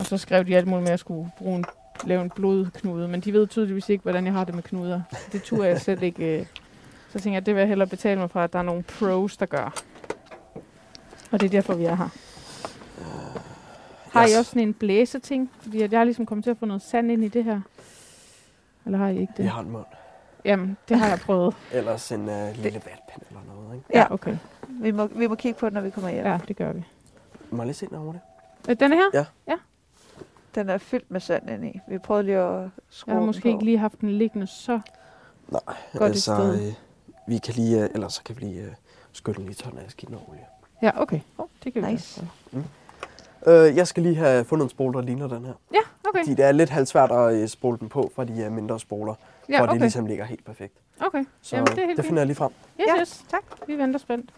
B: Og så skrev de alt muligt med, at jeg skulle bruge en, lave en blodknude, men de ved tydeligvis ikke, hvordan jeg har det med knuder. Det turde jeg slet ikke. Øh. Så tænker jeg, at det vil jeg hellere betale mig for, at der er nogle pros, der gør. Og det er derfor, vi er her. Har I
D: Yes.
B: også sådan en blæseting? Fordi at jeg har ligesom kommet til at få noget sand ind i det her. Eller har I ikke det?
D: Jeg har en mund.
B: Jamen, det har jeg prøvet.
D: Ellers en øh, lille vatpind eller noget, ikke?
A: Ja.
B: okay.
A: Vi må, vi må kigge på den, når vi kommer hjem. Ja.
B: Ja, det gør vi.
D: Må jeg lige se den over det?
B: Øh, Den her?
A: Den er fyldt med sand ind i. Vi prøvede lige at skrue
B: Jeg har
A: den
B: måske
A: på.
B: ikke lige haft den liggende så
D: Nej,
B: godt et sted.
D: øh, vi kan lige, øh, ellers så kan vi lige øh, skylle den lige tørre af skidt noget olie.
B: Ja, okay. Oh, det kan vi
A: Nice.
B: gøre.
D: Øh, jeg skal lige have fundet en spole, der ligner den her.
B: Ja, okay.
D: Fordi det er lidt halvsvært at øh, spole den på fra de øh, mindre spoler, ja,
B: Ja,
D: hvor det
B: okay.
D: ligesom ligger helt perfekt.
B: okay.
D: Så øh,
B: Jamen, det er helt
D: det
B: fint.
D: finder jeg lige frem.
B: Yes,
A: Ja,
B: yes.
A: tak.
B: Vi venter spændt.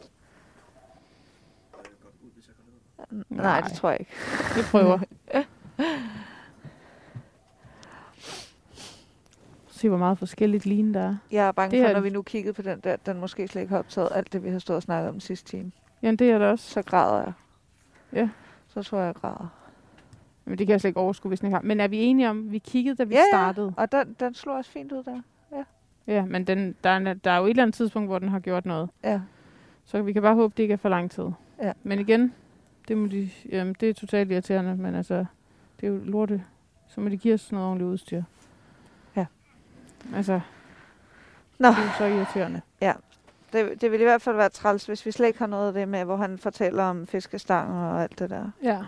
A: Nej, det tror jeg ikke.
B: vi
A: *laughs*
B: prøver. Se, hvor meget forskelligt line der er.
A: Jeg er bange
B: Det
A: for,
B: er
A: når
B: den.
A: vi nu kiggede på den der, den måske slet ikke har optaget alt det, vi har stået og snakket om den sidste time.
B: Jamen, det er der også.
A: Så græder jeg.
B: Ja.
A: Så tror jeg, jeg græder.
B: Men det kan jeg slet ikke overskue, hvis den ikke har. Men er vi enige om, vi kiggede, da vi
A: Ja, ja.
B: startede?
A: Og den, den slog også fint ud der.
B: Ja, men den, der, er, der er jo et eller andet tidspunkt, hvor den har gjort noget.
A: Ja.
B: Så vi kan bare håbe, det ikke er for lang tid.
A: Ja.
B: Men igen, det, må de, jamen, det er totalt irriterende, men altså, det er jo lorte. Så må de give os noget ordentligt udstyr.
A: Ja.
B: Altså,
A: Nå.
B: det er jo så irriterende.
A: Det, det ville i hvert fald være træls, hvis vi slet ikke har noget af det med, hvor han fortæller om fiskestanger og alt det der.
B: Ja.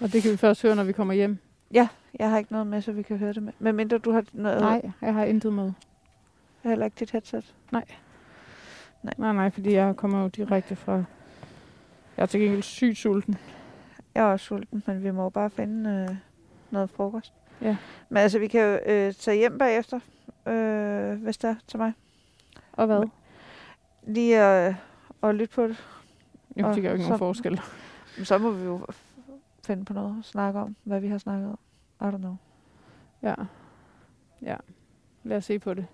B: Og det kan vi først høre, når vi kommer hjem.
A: Jeg har ikke noget med, så vi kan høre det med. Men mindre du har noget,
B: Nej, jeg har intet med.
A: heller ikke dit headset.
B: Nej, nej, fordi jeg kommer jo direkte fra... Jeg er til gengæld sygt sulten.
A: Jeg er også sulten, men vi må jo bare finde øh, noget frokost.
B: Ja.
A: Men altså, vi kan jo øh, tage hjem bagefter, øh, hvis der er til mig.
B: Og hvad?
A: Lige at øh, og lytte på det.
B: Jo,
A: Og
B: det gør jo ikke nogen
A: så-
B: forskel.
A: Men så må vi jo f- finde på noget at snakke om, hvad vi har snakket om. I don't know.
B: Ja. Ja. Lad os se på det.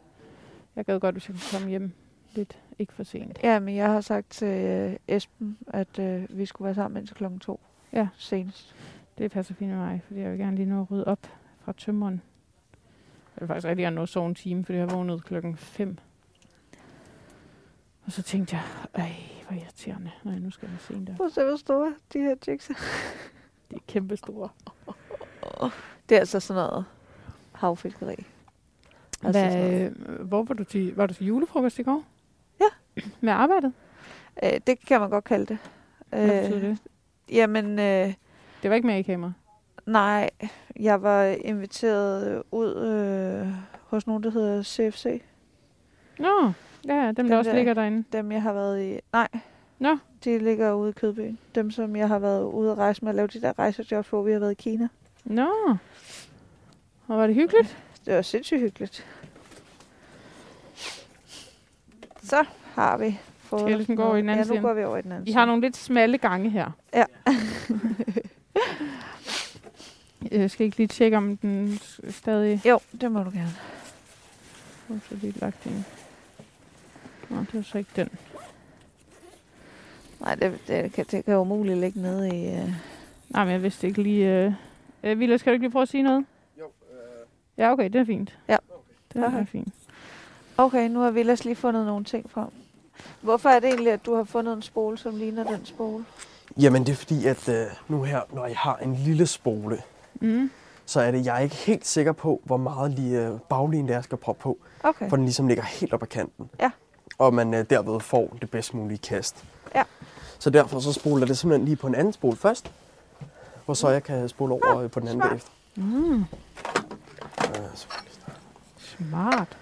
B: Jeg gad godt, hvis jeg kunne komme hjem lidt. Ikke for sent.
A: Ja, men jeg har sagt til øh, Esben, at øh, vi skulle være sammen indtil klokken to.
B: Ja.
A: Senest.
B: Det passer fint med mig, fordi jeg vil gerne lige nå at rydde op fra tømmeren. Jeg vil faktisk rigtig gerne nå at sove en time, fordi jeg vågnede klokken 5. Og så tænkte jeg, ej, hvor irriterende. Nej, nu skal jeg sent op.
A: Prøv at se, hvor store de her chicks er.
B: Det er kæmpe store.
A: Det er altså sådan noget havfiskeri. Altså sådan noget.
B: Hvad, øh, hvor var du til, var du til julefrokost i går?
A: Ja.
B: Med arbejdet?
A: Øh, det kan man godt kalde det.
B: Hvad
A: Øh.
B: betyder det?
A: jamen, øh,
B: Det var ikke med i kamera.
A: nej. Jeg var inviteret ud øh, hos nogen, der hedder CFC.
B: Nå, ja, ja, dem
A: Den
B: der også
A: der-
B: ligger derinde.
A: Dem, jeg har været i... Nej.
B: Nå.
A: De ligger ude i Kødbyen. Dem, som jeg har været ude at rejse med og lave de der rejsejobs, hvor vi har været i Kina.
B: Nå. Og var det hyggeligt?
A: Det var sindssygt hyggeligt. Så har vi fået...
B: Skal jeg ligesom gå over i den anden
A: Ja,
B: side?
A: nu går vi over i den anden
B: Vi har nogle lidt smalle gange her.
A: Ja.
B: *laughs* jeg skal ikke lige tjekke, om den s- stadig
A: side. Jo, det må du gerne.
B: Hvor er det lige lagt ind? Nå, det var så ikke den.
A: Nej, det, det, kan, det kan jo umuligt ligge nede i... Øh...
B: Nej, men jeg vidste ikke lige... Øh... Øh, Villa, skal du ikke lige prøve at sige noget?
D: Jo, øh.
B: Ja, okay, det er fint.
A: Ja.
B: Det er
A: Okay.
B: fint.
A: Okay, nu har Villas lige fundet nogle ting frem. Hvorfor er det egentlig, at du har fundet en spole, som ligner den spole?
D: Jamen det er fordi, at øh, nu her, når jeg har en lille spole,
B: Mm.
D: så er det, jeg er ikke helt sikker på, hvor meget lige øh, baglinen der jeg skal proppe på,
A: Okay.
D: for den ligesom ligger helt op ad kanten.
A: Ja.
D: Og man øh, derved får det bedst mulige kast.
A: Ja.
D: Så derfor så spoler jeg det simpelthen lige på en anden spole først, hvor så jeg kan spole over øh, på den anden
A: Ah, smart.
D: bagefter.
B: Mm.
D: Øh, så kan jeg lige starte.
B: Smart.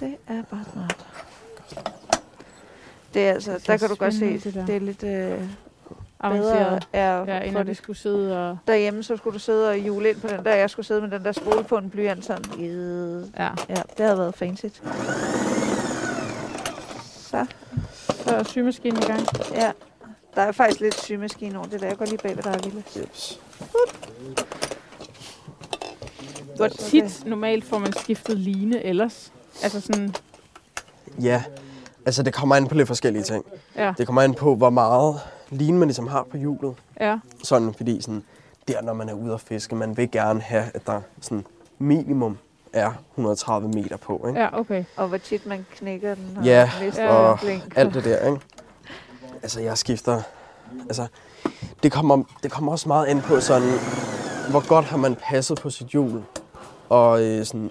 A: Det er bare smart. Det er altså, der kan du godt se,
B: spændende, det der.
A: det er lidt øh, bedre
B: avanceret,
A: er
B: ja,
A: ja,
B: end
A: for
B: at vi
A: det.
B: skulle sidde og...
A: Derhjemme, så skulle du sidde og jule ind på den der. Jeg skulle sidde med den der spole på en blyant sådan. Øh.
B: Ja.
A: Ja, det havde været fancy. Så,
B: Så er sygemaskinen i gang.
A: ja. Der er faktisk lidt sygemaskine over det der. Jeg går lige bag ved dig, Lille.
D: Jeps.
B: Hvor tit normalt får man skiftet line ellers? Altså sådan,
D: Ja, altså det kommer an på lidt forskellige ting.
B: ja,
D: Det kommer an på, hvor meget line man ligesom har på hjulet.
B: ja,
D: Sådan, fordi sådan, der når man er ude at fiske, man vil gerne have, at der sådan minimum er 130 meter på, ikke?
B: ja, okay.
A: Og hvor tit man knækker den og
D: Ja,
A: mister
B: Ja, ja.
A: ja.
D: og alt det der, ikke? Altså, jeg skifter... Altså, det kommer, det kommer også meget ind på sådan, hvor godt har man passet på sit hjul, og øh, sådan,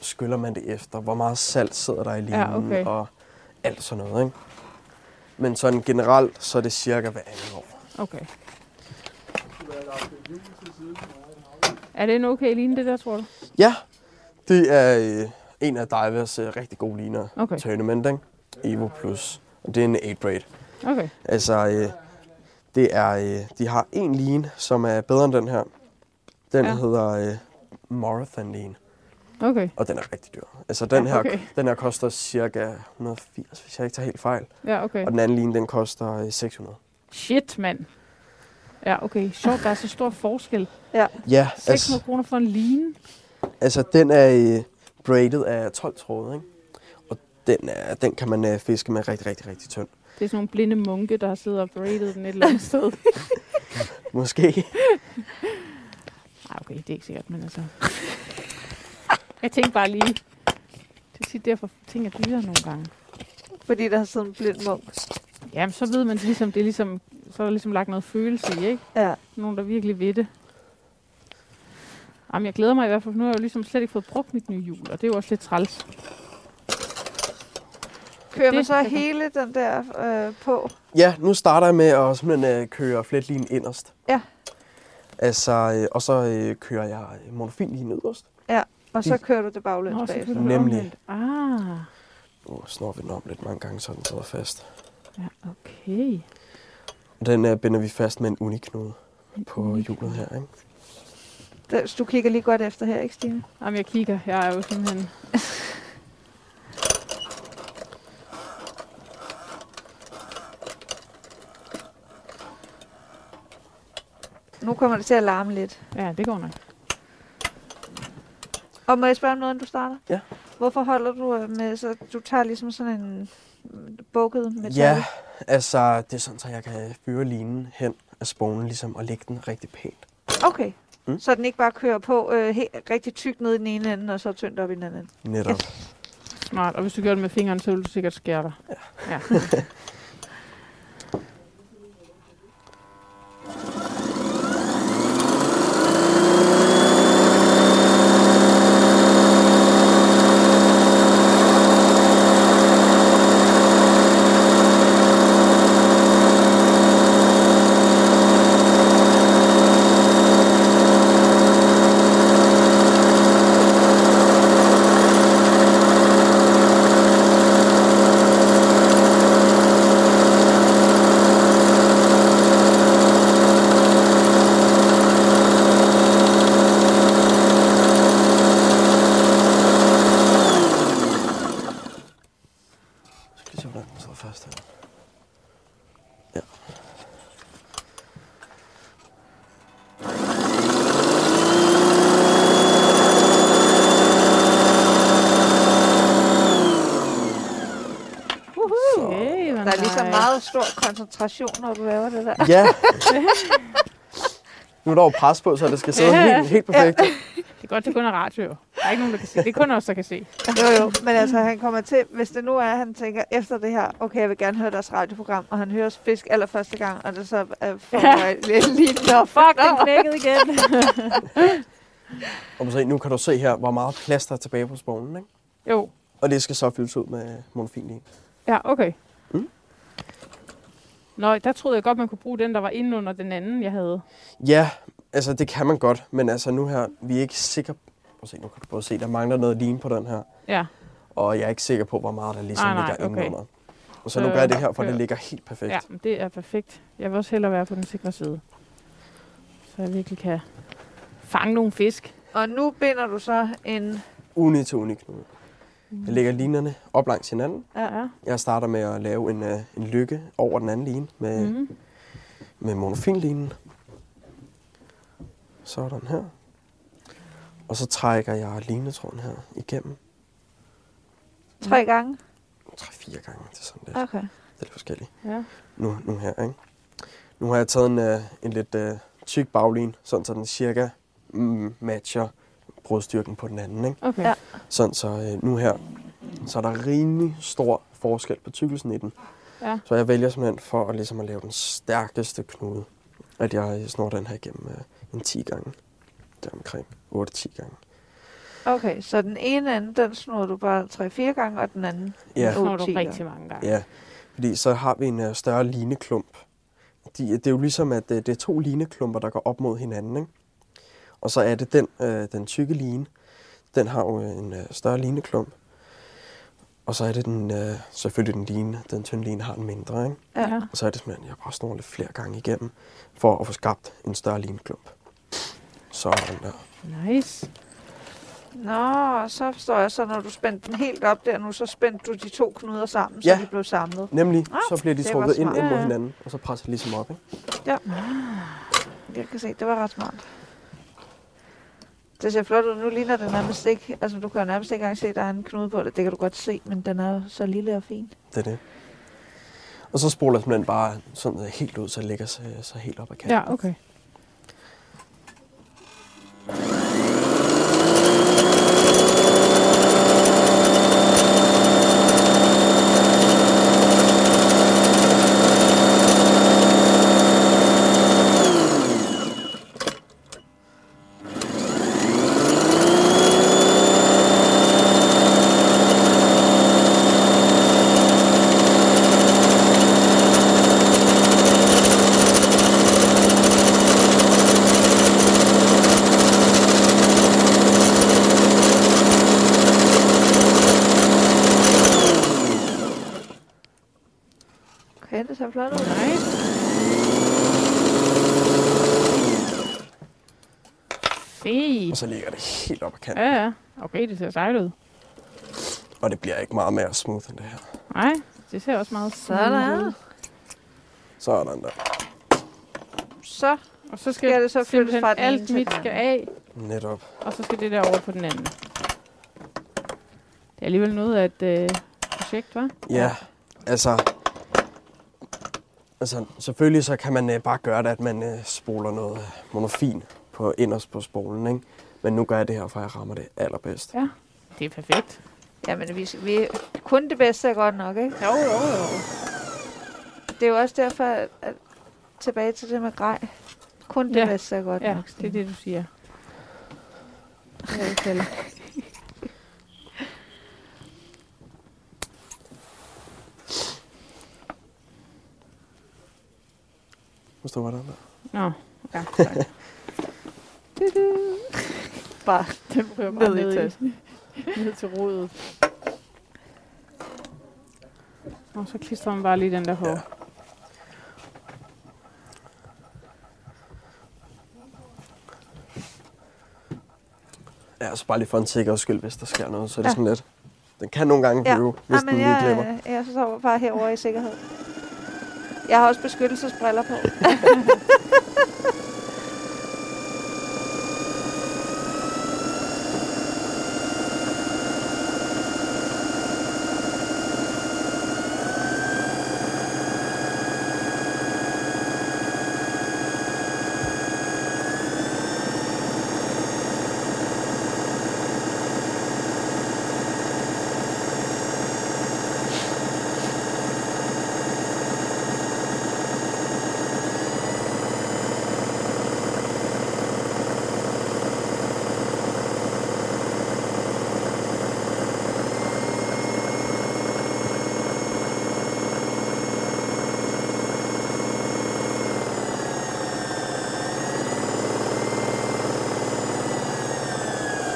D: skyller man det efter, hvor meget salt sidder der i linen,
B: Ja, okay.
D: og alt sådan noget, ikke? Men sådan generelt, så er det cirka hver anden år.
B: Okay. Er det en okay line, det der, tror du?
D: Ja, det er øh, en af divers øh, rigtig gode liner.
B: Okay,
D: Tournament, ikke? Evo Plus. Og det er en 8-braid.
B: okay.
D: Altså, øh, det er, øh, de har en line, som er bedre end den her. Den
B: Ja.
D: ja. hedder øh, Marathon Line,
B: Okay,
D: og den er rigtig dyr. Altså, den,
B: Ja,
D: her,
B: okay.
D: den her koster cirka 180, hvis jeg ikke tager helt fejl.
B: ja, okay.
D: Og den anden line, den koster øh, 600.
B: Shit, mand. Ja, okay. Sjovt, der er så stor forskel.
D: Ja,
B: 600
D: altså,
B: kroner for en line.
D: altså den er øh, braided af 12 tråde, ikke? Og den, er, den kan man øh, fiske med rigtig, rigtig, rigtig tynd.
B: Det er sådan nogle blinde munke, der har siddet og braided den et eller andet sted.
D: Måske.
B: Nej, okay, det er ikke sikkert, men altså... Jeg tænkte bare lige... Det er tit derfor, ting er dyre nogle gange.
A: Fordi der har siddet en blind munk.
B: Jamen, så ved man det ligesom, det er ligesom, så er der ligesom lagt noget følelse i, ikke?
A: Ja.
B: Nogen, der virkelig ved det. Jamen, jeg glæder mig i hvert fald, for nu har jeg jo ligesom slet ikke fået brugt mit nye hjul, og det er jo også lidt træls.
A: Kører
B: Det
A: man så
B: er godt.
A: hele den der øh, på?
D: Ja, nu starter jeg med at simpelthen øh, køre fletlinen inderst.
A: Ja.
D: Altså, øh, og så øh, kører jeg monofilinen yderst.
A: Og så kører du det baglæns
B: så
A: bagefter.
B: du det
D: Nemlig.
B: omvendt. Ah,
D: Nu oh, snor vi den om lidt mange gange, så den sidder fast.
B: ja, okay.
D: Den øh, binder vi fast med en uniknude på hjulet her, ikke?
A: Der- så Du kigger lige godt efter her, ikke Stine?
B: Jamen, jeg kigger. Jeg er jo simpelthen...
A: Nu kommer det til at larme lidt.
B: Ja, det går nok.
A: Og må jeg spørge om noget, inden du starter?
D: Ja.
A: Hvorfor holder du øh, med, så du tager ligesom sådan en mm, bukket metal?
D: Ja, altså, det er sådan, så jeg kan fyre linen hen af spolen, ligesom, og lægge den rigtig pænt.
A: Okay. Mm.
D: Mm.
A: Så den ikke bare kører på øh, helt, rigtig tykt ned i den ene ende, og så tyndt op i den anden ende.
D: Netop.
B: Smart. Og hvis du gør det med fingeren, så vil du sikkert skære dig. Ja.
D: Så skal vi se, hvordan den sidder fast her. Ja.
A: Uhuh.
B: Okay,
A: Der er ligesom meget stor koncentration, når du laver det der.
B: *laughs*
D: Ja. Nu er der jo pres på, så det skal sidde
B: Ja.
D: helt, helt perfekt.
B: Det er godt, det kun er radio. Der er ikke nogen, der kan se. Det er kun os, der kan se.
A: *laughs* Jo, jo, men altså han kommer til, hvis det nu er, han tænker efter det her, okay, jeg vil gerne høre deres radioprogram, og han hører Fisk allerførste gang, og det så øh, får ja. lidt lignende op.
B: Fuck, den knækkede igen.
D: Og så, nu kan du se her, hvor meget plads der er tilbage på spolen, ikke?
B: jo.
D: Og det skal så fyldes ud med monofilin.
B: Ja, okay. Mm.
D: Mm.
B: Nå, der troede jeg godt, man kunne bruge den, der var inde under den anden, jeg havde.
D: Ja, altså det kan man godt, men altså nu her, vi er ikke sikre... Prøv at se, nu kan du prøve at se, der mangler noget line på den her.
B: Ja,
D: Og jeg er ikke sikker på, hvor meget der ligesom
B: Nej, nej,
D: ligger
B: okay.
D: indenunder. Og så lukker jeg det her, for
B: Øh,
D: det
B: øh.
D: ligger helt perfekt.
B: Ja, men det er perfekt. Jeg vil også hellere være på den sikre side. Så jeg virkelig kan fange nogle fisk.
A: Og nu binder du så en...
D: Uni til uniknude. Jeg lægger linerne op langs hinanden.
B: Mm. Ja.
D: Jeg starter med at lave en, øh, en lykke over den anden line med, mm.
B: Mm.
D: med monofinlinen. Sådan her. Og så trækker jeg linetråden her igennem.
A: Tre gange.
D: 3-4 gange til sådan lidt.
A: Okay.
D: Det er lidt forskelligt.
B: ja.
D: Nu, nu her, ikke? Nu har jeg taget en, øh, en lidt øh, tyk baglin, sådan så den cirka mm, matcher brudstyrken på den anden, ikke?
B: Okay.
A: Ja.
B: Ja.
D: Sådan så øh, nu her, så er der rimelig stor forskel på tykkelsen i den.
B: Ja.
D: Så jeg vælger simpelthen for at, ligesom at lave den stærkeste knude, at jeg snor den her igennem øh, en 10 gange. Der omkring 8-10 gange.
A: Okay, så den ene ende, den snor du bare 3-4 gange, og den anden...
D: Ja,
A: Åh,
B: Når du
A: ti, ja.
B: rigtig mange gange.
D: ja. Fordi så har vi en øh, større lineklump. De, det er jo ligesom, at øh, det er to lineklumper, der går op mod hinanden. Ikke? Og så er det den, øh, den tykke line. Den har jo øh, en øh, større lineklump. Og så er det den, øh, selvfølgelig den line, den tynde line har en mindre. Ikke?
B: Ja.
D: Og så er det simpelthen, jeg bare snor lidt flere gange igennem, for at få skabt en større lineklump. øh, Sådan der.
B: Nice.
A: Nå, så forstår jeg så, når du spændte den helt op der nu, så spændte du de to knuder sammen, så
D: Ja.
A: de blev samlet.
D: Nemlig,
A: Ah,
D: så bliver de
A: det var
D: trukket ind,
A: smart.
D: ind
B: Ja,
D: mod
B: ja.
D: hinanden, og så presser de ligesom op. Ikke?
A: Jeg kan se, det var ret smart. Det ser flot ud. Nu ligner det nærmest ikke... Altså, du kan jo nærmest ikke engang se, at der er en knude på det. Det kan du godt se, men den er jo så lille og fin.
D: Det er det. Og så spoler jeg simpelthen bare sådan øh, helt ud, så det ligger sig, så helt op ad kanten.
B: Ja, okay.
A: Okay, det ser flot ud.
B: Nice.
D: Og
B: Fedt.
D: så ligger det helt op ad kanten,
B: Ja, ja. Okay, det ser sejt ud.
D: og det bliver ikke meget mere smooth end det her.
B: Nej, det ser også meget smooth
A: Sådan.
B: ud.
D: Sådan der.
A: Så
B: Og så skal
A: skal det så flyttes
B: simpelthen
A: fra den ene
B: alt
A: til
B: mit
A: den
B: skal
A: anden.
B: af,
D: Netop.
B: og så skal det der over på den anden. Det er alligevel noget af et øh, projekt, hva'?
D: Ja, altså... Altså, selvfølgelig så kan man øh, bare gøre det, at man øh, spoler noget øh, monofin på inderst på spolen, ikke? Men nu gør jeg det her, for jeg rammer det allerbedst.
B: Det er perfekt.
A: Jamen, vi, vi, kun det bedste er godt nok, ikke?
B: Jo, jo, jo.
A: Det er jo også derfor, at, at tilbage til det med grej. Kun det
B: Ja.
A: bedste er godt
B: Ja,
A: nok.
B: det er det, du siger.
A: er det, kalder.
D: Forstår du, hvordan der?
B: Nå, *laughs* ja, tak.
A: Bare
B: Den ryger bare ned, ned, i, ned til rodet. Og så klistrer man bare lige den der hår.
D: Ja.
B: Ja.
D: Ja, så bare lige for en sikkerheds skyld, hvis der sker noget, så er det
B: Ja.
D: sådan lidt... Den kan nogle gange
A: Ja.
D: flyve, ja. hvis
A: Nej,
D: den
A: men
D: lige
A: jeg,
D: glemmer.
A: øh, jeg sover bare herover i sikkerhed. Jeg har også beskyttelsesbriller på.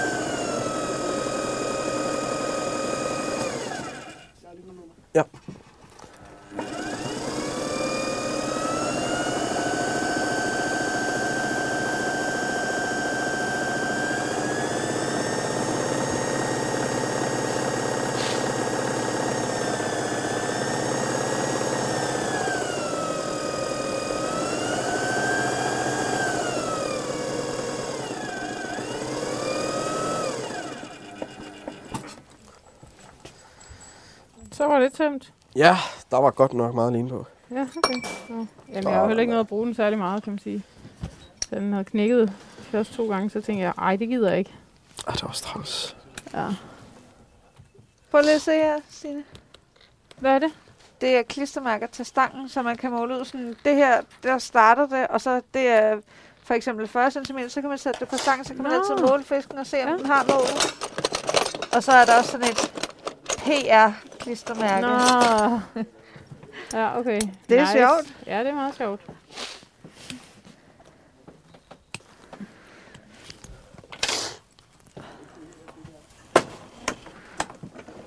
B: øh- Så var det tømt.
D: Ja, der var godt nok meget alene på.
B: Ja, okay. Nå. Jamen, jeg har jo heller ikke noget at bruge den særlig meget, kan man sige. Da Den havde knækket først to gange, så tænkte jeg, ej, det gider jeg ikke.
D: Ah, det var også træls.
B: Ja.
A: Prøv lige at se her, Stine.
B: Hvad er det?
A: Det er klistermærker til stangen, så man kan måle ud sådan, det her, der starter det, og så det er for eksempel 40 cm, så kan man sætte det på stangen, så kan man
B: Nå.
A: altid måle fisken og se, om
B: Ja.
A: ja. den har målet. Og så er der også sådan et PR-klistermærke.
B: Nå. Ja, okay.
A: Det er sjovt.
B: Ja, det er meget sjovt.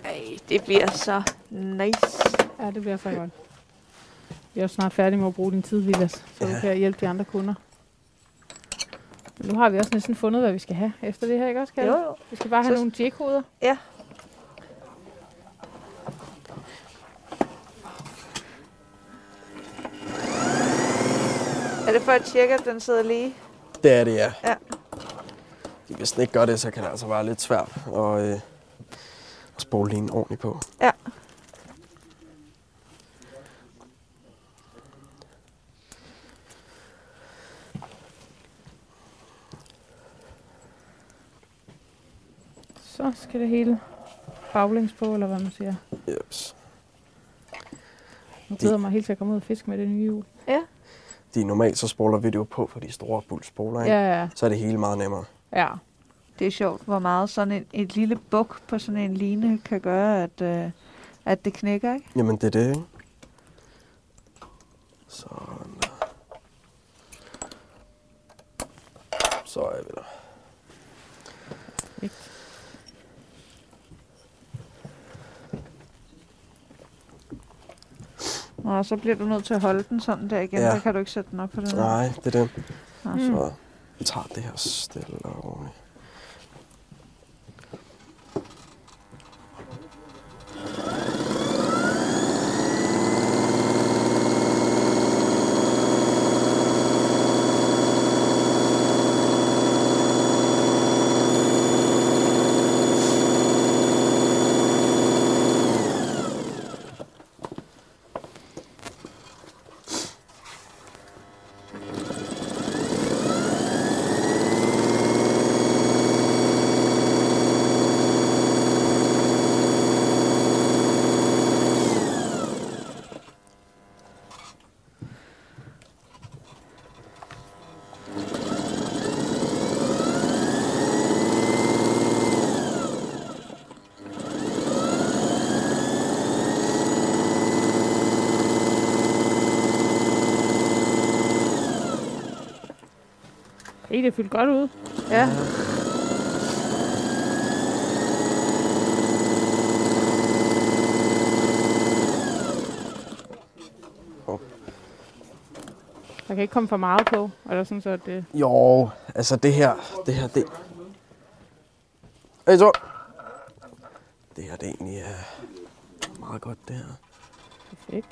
A: Ej, det bliver så nice.
B: Ja, det bliver så godt. Vi er jo snart færdige med at bruge din tid, Vilas, så du
D: Ja.
B: kan hjælpe de andre kunder. Men nu har vi også næsten fundet, hvad vi skal have efter det her, ikke også, Kalle?
A: Jo, jo.
B: Vi skal bare have
A: Så-
B: nogle jækhoveder.
A: Ja. Er det for at tjekke, at den sidder lige?
D: Det er det, ja.
A: Ja.
D: Fordi Hvis den ikke gør det, så kan det altså være lidt svært at, øh, at spole lige en ordentligt på.
A: Ja.
B: Så skal det hele baglæns på, eller hvad man siger.
D: Jeps.
B: Nu glæder jeg mig helt til at komme ud og fiske med det nye hjul.
D: De normalt så spoler vi det jo på for de store bulspoler, ikke?
B: Ja, ja,
D: Så er det hele meget nemmere.
B: ja.
A: Det er sjovt, hvor meget sådan en, et lille buk på sådan en line kan gøre, at, øh, at det knækker, ikke?
D: Jamen, det er det, ikke? Sådan. Så er vi der.
A: Nå, så bliver du nødt til at holde den sådan der igen.
D: Ja.
A: Ja. Der kan du ikke sætte den op på den.
D: Nej, det er det.
A: Nej.
B: Mm.
D: Så vi tager det her stille og roligt.
B: Hey, det er fyldt godt ud.
A: Ja.
B: Der kan ikke komme for meget på, eller sådan så, at det...
D: Jo, altså det her, det her, det... Hey, så! Det her, det er egentlig er meget godt, det her.
B: Perfekt.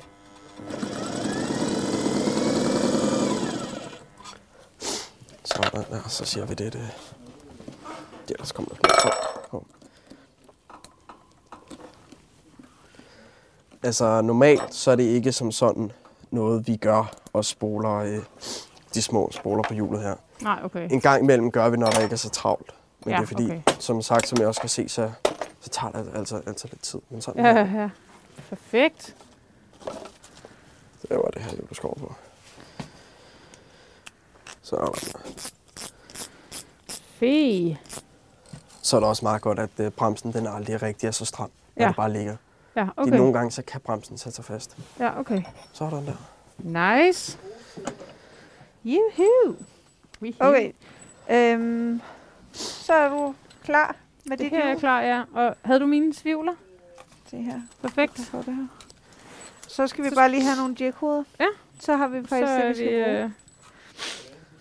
D: Sådan der, så siger vi det, øh, det... Det ellers kommer lidt mere på- på. Altså normalt, så er det ikke som sådan noget, vi gør og spoler øh, de små spoler på hjulet her.
B: Nej, okay.
D: En gang imellem gør vi, når der ikke er så travlt. Men
B: Ja,
D: det er fordi,
B: okay.
D: som sagt, som jeg også kan se, så, så tager det altså, altså lidt tid. Men sådan
B: Ja,
D: her,
B: ja. Perfekt.
D: der var det her juleskov på. Så, er der-
B: Fe.
D: så er det også meget godt, at øh, bremsen den aldrig rigtig er så stram, når
B: Ja.
D: ja. den bare ligger.
B: Ja,
D: Okay. De, nogle
B: okay.
D: gange så kan bremsen sætte sig fast.
B: Ja, okay.
D: Så er der den der.
B: Nice.
A: Juhu!
B: Wihee.
A: Okay. Øhm, så er du klar med
B: Det
A: dit
B: her er
A: hjul.
B: klar, ja. Og havde du mine svivler?
A: Det her.
B: Perfekt.
A: Jeg får det her. Så skal vi
B: Så-
A: bare lige have nogle jækhoveder.
B: Ja.
A: Så har vi
B: Så
A: faktisk det,
B: er
A: vi
B: vi
A: skal bruge.
B: øh,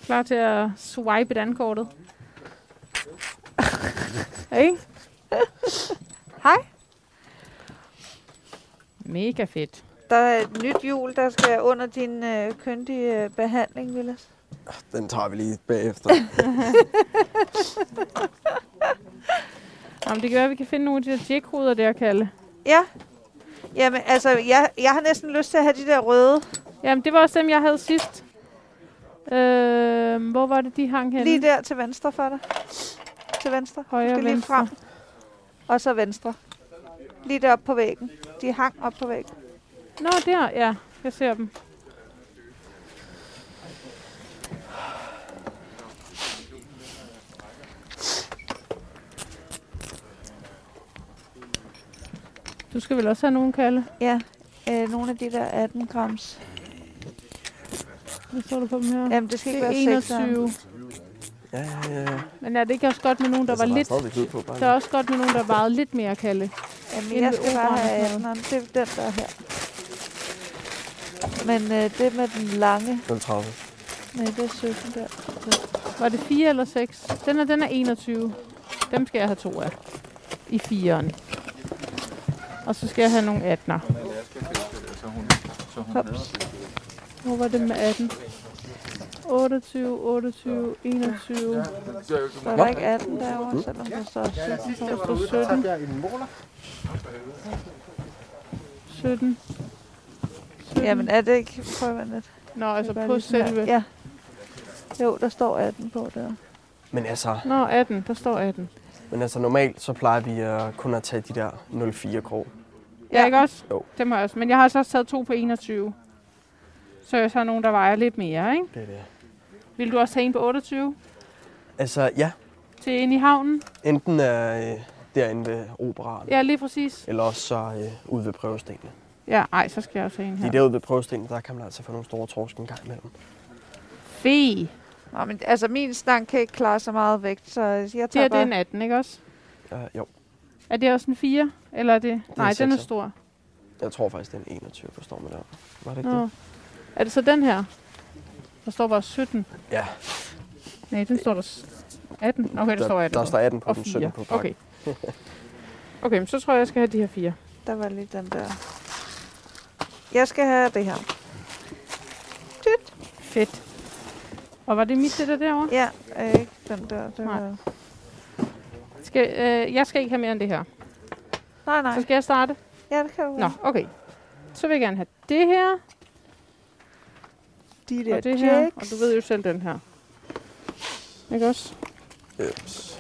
B: klar til at swipe dankortet. Ikke?
A: Hej.
B: Mega fedt.
A: Der er et nyt hjul, der skal under din øh, køndige øh, behandling, Villas.
D: Den tager vi lige bagefter.
B: *laughs* Jamen, det gør, at vi kan finde nogle af de der jækhoveder der, Kalle.
A: Ja, Jamen, altså, jeg, jeg har næsten lyst til at have de der røde.
B: Jamen, det var også dem, jeg havde sidst. Øh, hvor var det, de hang henne?
A: Lige der til venstre for dig. Til venstre.
B: Højre,
A: du skal lige
B: venstre.
A: frem. Og så venstre. Lige deroppe på væggen. De hang op på væggen.
B: Nå, der, ja. Jeg ser dem. Du skal vel også have nogen, Kalle?
A: Ja, øh, nogle af de der 18 grams.
B: Hm. Hvad står der på dem her?
A: Jamen, det skal
B: det
A: ikke
B: er
A: være
B: 21.
D: Ja, ja, ja. Altså,
B: Men er det ikke også godt med nogen, Altså, der var lidt...
D: stadigvæk lyd på, bare
B: Der er også godt med nogen, der vejede lidt mere, Kalle.
A: Jamen,
B: Inde
A: jeg
B: ved
A: skal bare
B: operaen og
A: have
B: sådan
A: 18'eren. Det er den, der er her. Men øh, det med den lange,
D: 030.
A: nej, det er 17 der.
B: Var det 4 eller 6? Den er, den er 21. Dem skal jeg have to af. I firen. Og så skal jeg have nogle 18'er.
A: Hops.
B: Hvor var det med 18? 28, 28, 21.
A: Der var ikke 18 derovre, selvom der står 17.
B: Så er det 17. 17. 17.
A: Jamen, er det ikke? Prøv at vente lidt.
B: Nå, altså
A: Det er bare
B: på
A: lige sådan her.
B: selve.
A: Ja. Jo, der står 18 på der.
D: Men altså,
B: Nå, 18. Der står 18.
D: men altså normalt, så plejer vi uh, kun at tage de der 04 grå.
B: Ja, ikke også?
D: Jo.
B: Dem har jeg også. Men jeg har altså også taget to på 21. Så jeg så har nogen, der vejer lidt mere, ikke?
D: Det er det.
B: Vil du også tage en på 28
D: Altså, ja.
B: til ind i havnen?
D: Enten uh, derinde ved operaren, ja.
B: Ja, lige præcis.
D: eller også så uh, ude ved prøvestenene.
B: Ja, ej, så skal jeg også have en
D: Lige
B: her.
D: derude ved prøvestenene, der kan man altså få nogle store torsk en gang imellem.
B: Fe.
A: Nå, men altså, min stang kan ikke klare så meget vægt, så jeg
B: Det
A: tager
B: er det er
A: bare...
B: en 18, ikke også?
D: Uh, jo,
B: Er det også en 4? Eller er det...
D: en
B: Nej, den er
D: sekser.
B: stor.
D: jeg tror faktisk, det er en 21, forstår man der. Var det ikke
B: Nå.
D: det?
B: Er det så den her? Der står bare 17.
D: Ja,
B: Nej, den står der s- 18. Okay, der står 18.
D: der står 18 på
B: og
D: den,
B: 4.
D: 17 på pakken.
B: Okay. Okay, men så tror jeg, jeg skal have de her fire.
A: Der var lige den der. Jeg skal have det her.
B: Fedt. Og var det mit, det der derovre?
A: Ja, øh, ikke den der. Det
B: Nej.
A: var...
B: Skal, øh, jeg skal ikke have mere end det her.
A: Nej,
B: Så
A: nej.
B: skal jeg starte?
A: Ja, det kan du
B: Nå, okay. Så vil jeg gerne have det her,
A: De
B: og
A: der
B: det her, og
A: jacks.
B: du ved jo selv den her. Ikke også?
D: Øps.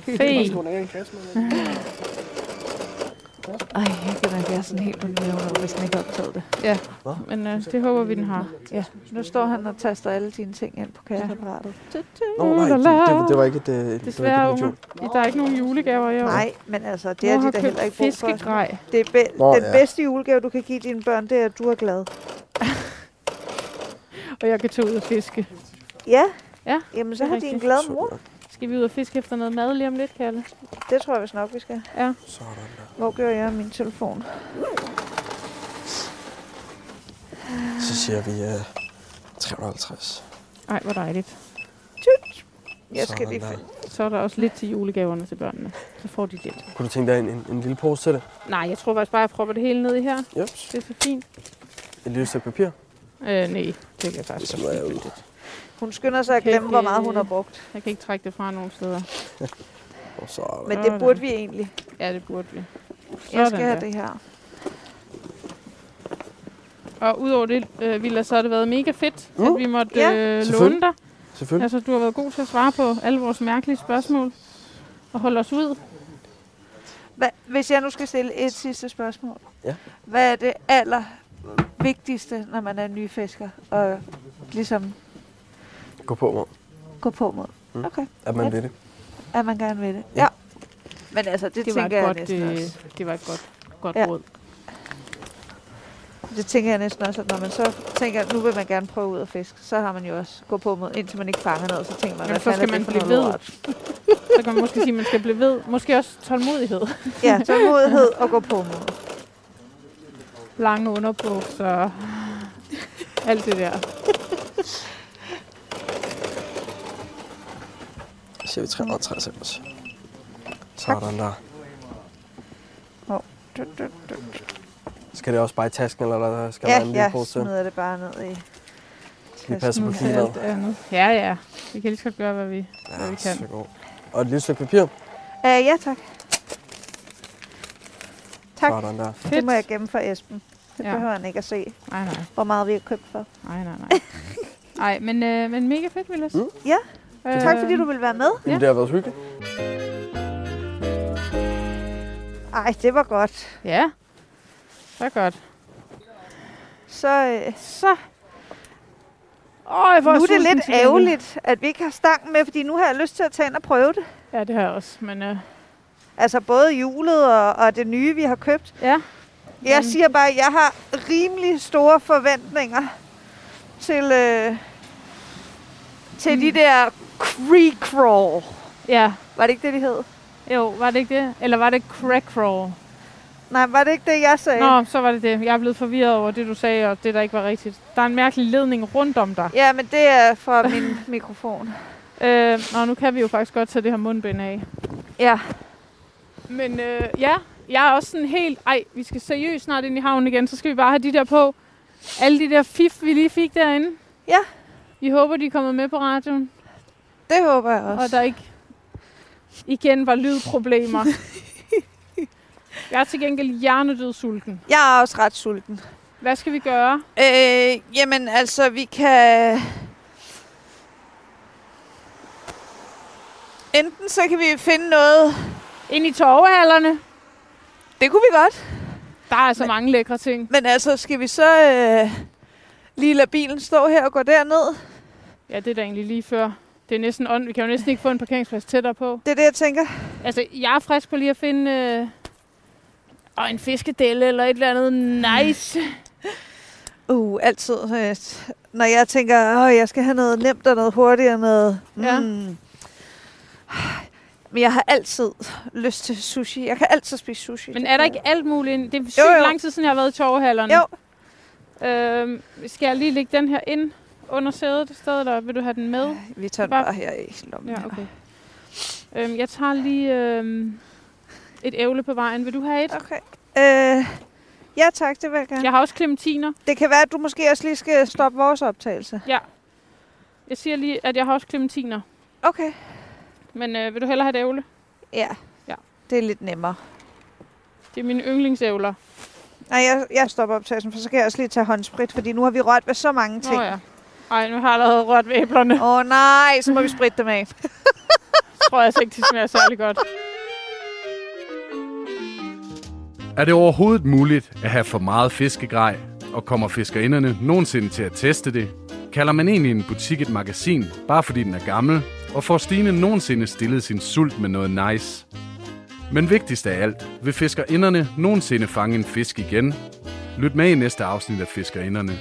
B: Fe.
E: Ej, jeg føler, at jeg er sådan helt under nævner, hvis den ikke har optaget det.
B: Men øh, det håber vi, den har.
A: Nu står han og taster alle dine ting ind på kasseapparatet.
D: Nå, nej, det, det, det var ikke et... øh, det var ikke et
B: Desværre,
D: idiot.
B: unger. Der er ikke nogen julegaver i år.
A: Nej, men altså, det
B: Mor
A: har
B: har
A: de da
B: købt
A: heller ikke brug for.
B: Fiskegrej.
A: Det er be-
D: Nå,
A: den
D: ja.
A: bedste julegave, du kan give dine børn, det er, at du er glad.
B: Og jeg kan tage ud og fiske.
A: Ja?
B: Ja,
A: Jamen, så
B: det er
A: har de en
B: rigtigt.
A: glad mor.
B: Skal vi ud og fiske efter noget mad lige om lidt, Kalle?
A: Det tror jeg vist nok, vi skal.
D: Sådan der.
A: Hvor gør jeg af min telefon?
D: Så siger vi øh, 350.
B: Ej, hvor dejligt.
A: Jeg skal
D: Sådan
A: lige
D: der.
A: finde.
B: Så er der også lidt til julegaverne til børnene. Så får de lidt.
D: Kunne du tænke dig en, en, en lille pose til det?
B: Nej, jeg tror faktisk bare, jeg propper det hele ned i her.
D: Jeps.
B: Det er så fint.
D: Et lille stykke papir.
B: Øh, nej, det kan jeg faktisk
D: smider jeg
B: også
D: ud.
B: ligegyldigt.
A: Hun skynder sig at
B: Kan
A: glemme, hvor
B: ikke-
A: meget hun har brugt.
B: Jeg kan ikke trække det fra nogen steder.
D: Og så...
A: Men
B: Sådan.
A: det burde vi egentlig.
B: Ja, det burde vi.
A: Jeg
B: Sådan
A: skal have
B: der.
A: det her.
B: Og udover det, øh, Villa, så har det været mega fedt,
D: Mm.
B: at vi måtte
A: Uh, Ja.
B: øh, låne
D: Selvfølgelig.
B: dig.
A: Mm.
D: Selvfølgelig.
B: Altså, du har været god til at svare på alle vores mærkelige spørgsmål. Og holde os ud.
A: Hva, hvis jeg nu skal stille et sidste spørgsmål.
D: Ja.
A: Hvad er det aller vigtigste, når man er ny fisker, og ligesom
D: Gå på mod,
A: gå på mod,
D: at man vil det.
A: at man gerne vil det?
D: Mm. Ja.
A: Men altså, det,
B: Det
A: det
B: var, et
A: tænker jeg
B: godt,
A: næsten også.
B: øh, det var et godt, godt
A: Ja.
B: råd.
A: Det tænker jeg næsten også, at når man så tænker, at nu vil man gerne prøve ud at fiske, så har man jo også gå på mod, indtil man ikke fanger noget, så tænker man,
B: Jamen,
A: hvad
B: så
A: fanden
B: skal
A: er
B: man
A: det for
B: blive
A: noget
B: ved.
A: lort?
B: Så kan man måske sige, at man skal blive ved. Måske også tålmodighed.
A: Ja, tålmodighed og gå på mod.
B: Lange underbukser. Alt det der.
D: Så siger vi 360 ellers. Sådan der.
A: Du, du, du.
D: Skal det også bare i tasken, eller der skal være en
A: Ja,
D: lille
A: jeg
D: pose til?
A: smider det bare ned i
D: Vi passer på
B: Nu til
D: klimaet.
B: alt andet. Ja, ja. Vi kan lige så godt gøre, hvad vi, hvad vi
D: Ja,
B: kan.
D: så godt. Og et lille stykke papir.
A: Uh, ja, tak. Tak.
D: Sådan der.
A: Det må jeg gemme for Esben. Det
B: Ja.
A: ja. behøver han ikke at se,
B: Nej, nej.
A: hvor meget vi har købt for.
B: Nej, nej, nej. Nej, men, øh, men mega fedt, Vilas.
D: Mm.
A: Ja. Øh. Tak fordi du ville være med.
D: Ja. Det har været hyggeligt.
A: Ej, det var godt.
B: Ja, så godt.
A: Så øh,
B: Så. Åh, jeg får
A: nu er det
B: sulten
A: lidt
B: til gengæld.
A: ærgerligt, at vi ikke har stang med, fordi nu har jeg lyst til at tage ind og prøve det.
B: Ja, det har jeg også, men øh,
A: Altså både julet og, og det nye, vi har købt.
B: ja.
A: Jeg
B: Men-
A: siger bare, at jeg har rimelig store forventninger til, øh, til mm. de der creek crawl.
B: Ja,
A: Var det ikke det, de hed?
B: jo, var det ikke det? Eller var det crack roll?
A: Nej, var det ikke det, jeg sagde?
B: Nå, så var det det. Jeg er blevet forvirret over det, du sagde, og det, der ikke var rigtigt. Der er en mærkelig ledning rundt om dig.
A: Ja, men det er *laughs* fra min mikrofon.
B: Øh, nå, nu kan vi jo faktisk godt tage det her mundbind af.
A: Ja.
B: Men øh, ja, jeg er også sådan helt, ej, vi skal seriøst snart ind i havnen igen, så skal vi bare have de der på. Alle de der fif, vi lige fik derinde.
A: Ja.
B: Vi håber, de er kommet med på radioen,
A: Det håber jeg også.
B: og der ikke igen var
A: *laughs*
B: lydproblemer. jeg er til gengæld hjernedød sulten.
A: Jeg er også ret sulten.
B: Hvad skal vi gøre?
A: Øh, jamen altså, vi kan... Enten så kan vi finde noget...
B: Ind i torvehallerne.
A: Det kunne vi godt.
B: Der er så
A: Men-
B: mange lækre ting.
A: Men altså, skal vi så øh, lige lade bilen stå her og gå derned?
B: Ja, det er da egentlig lige før. Det er næsten ondt. Vi kan jo næsten ikke få en parkeringsplads tættere på.
A: Det er det, jeg tænker.
B: Altså, jeg er frisk på lige at finde øh, og en fiskedelle eller et eller andet nice.
A: Mm. Uh, altid. Øh, når jeg tænker, at jeg skal have noget nemt og noget hurtigt og noget...
B: Ja.
A: Mm. Men jeg har altid lyst til sushi. Jeg kan altid spise sushi.
B: Men er der ikke alt muligt? ind- Det er sygt
A: Jo, jo.
B: lang tid siden, jeg har været i torvehallerne.
A: Jo,
B: Øhm, skal jeg lige lægge den her ind under sædet i stedet, eller vil du have den med?
A: vi tager den
B: Bare-
A: bare her i lommen.
B: Ja, okay. Øhm, jeg tager lige øhm, et ævle på vejen. Vil du have et?
A: Okay. Øh, ja tak, det vil jeg gerne. Ja.
B: Jeg har også clementiner.
A: Det kan være, at du måske også lige skal stoppe vores optagelse.
B: Jeg siger lige, at jeg har også clementiner.
A: Okay.
B: Men øh, vil du hellere have et ævle?
A: Ja.
B: Ja.
A: Det er lidt nemmere.
B: Det er mine yndlingsævler.
A: Nej, jeg, jeg stopper optagelsen, for så kan jeg også lige tage håndsprit, fordi nu har vi rørt ved så mange
B: Nå
A: ting.
B: ja. Ej, nu har jeg allerede rørt ved æblerne.
A: Åh oh, nej, så må vi spritte dem af.
B: tror jeg altså ikke, de smager særlig godt.
C: Er det overhovedet muligt at have for meget fiskegrej, og kommer fiskerinderne nogensinde til at teste det? Kalder man egentlig en butik et magasin, bare fordi den er gammel, og får Stine nogensinde stillet sin sult med noget nice? Men vigtigst af alt, vil fiskerinderne nogensinde fange en fisk igen? Lyt med i næste afsnit af Fiskerinderne.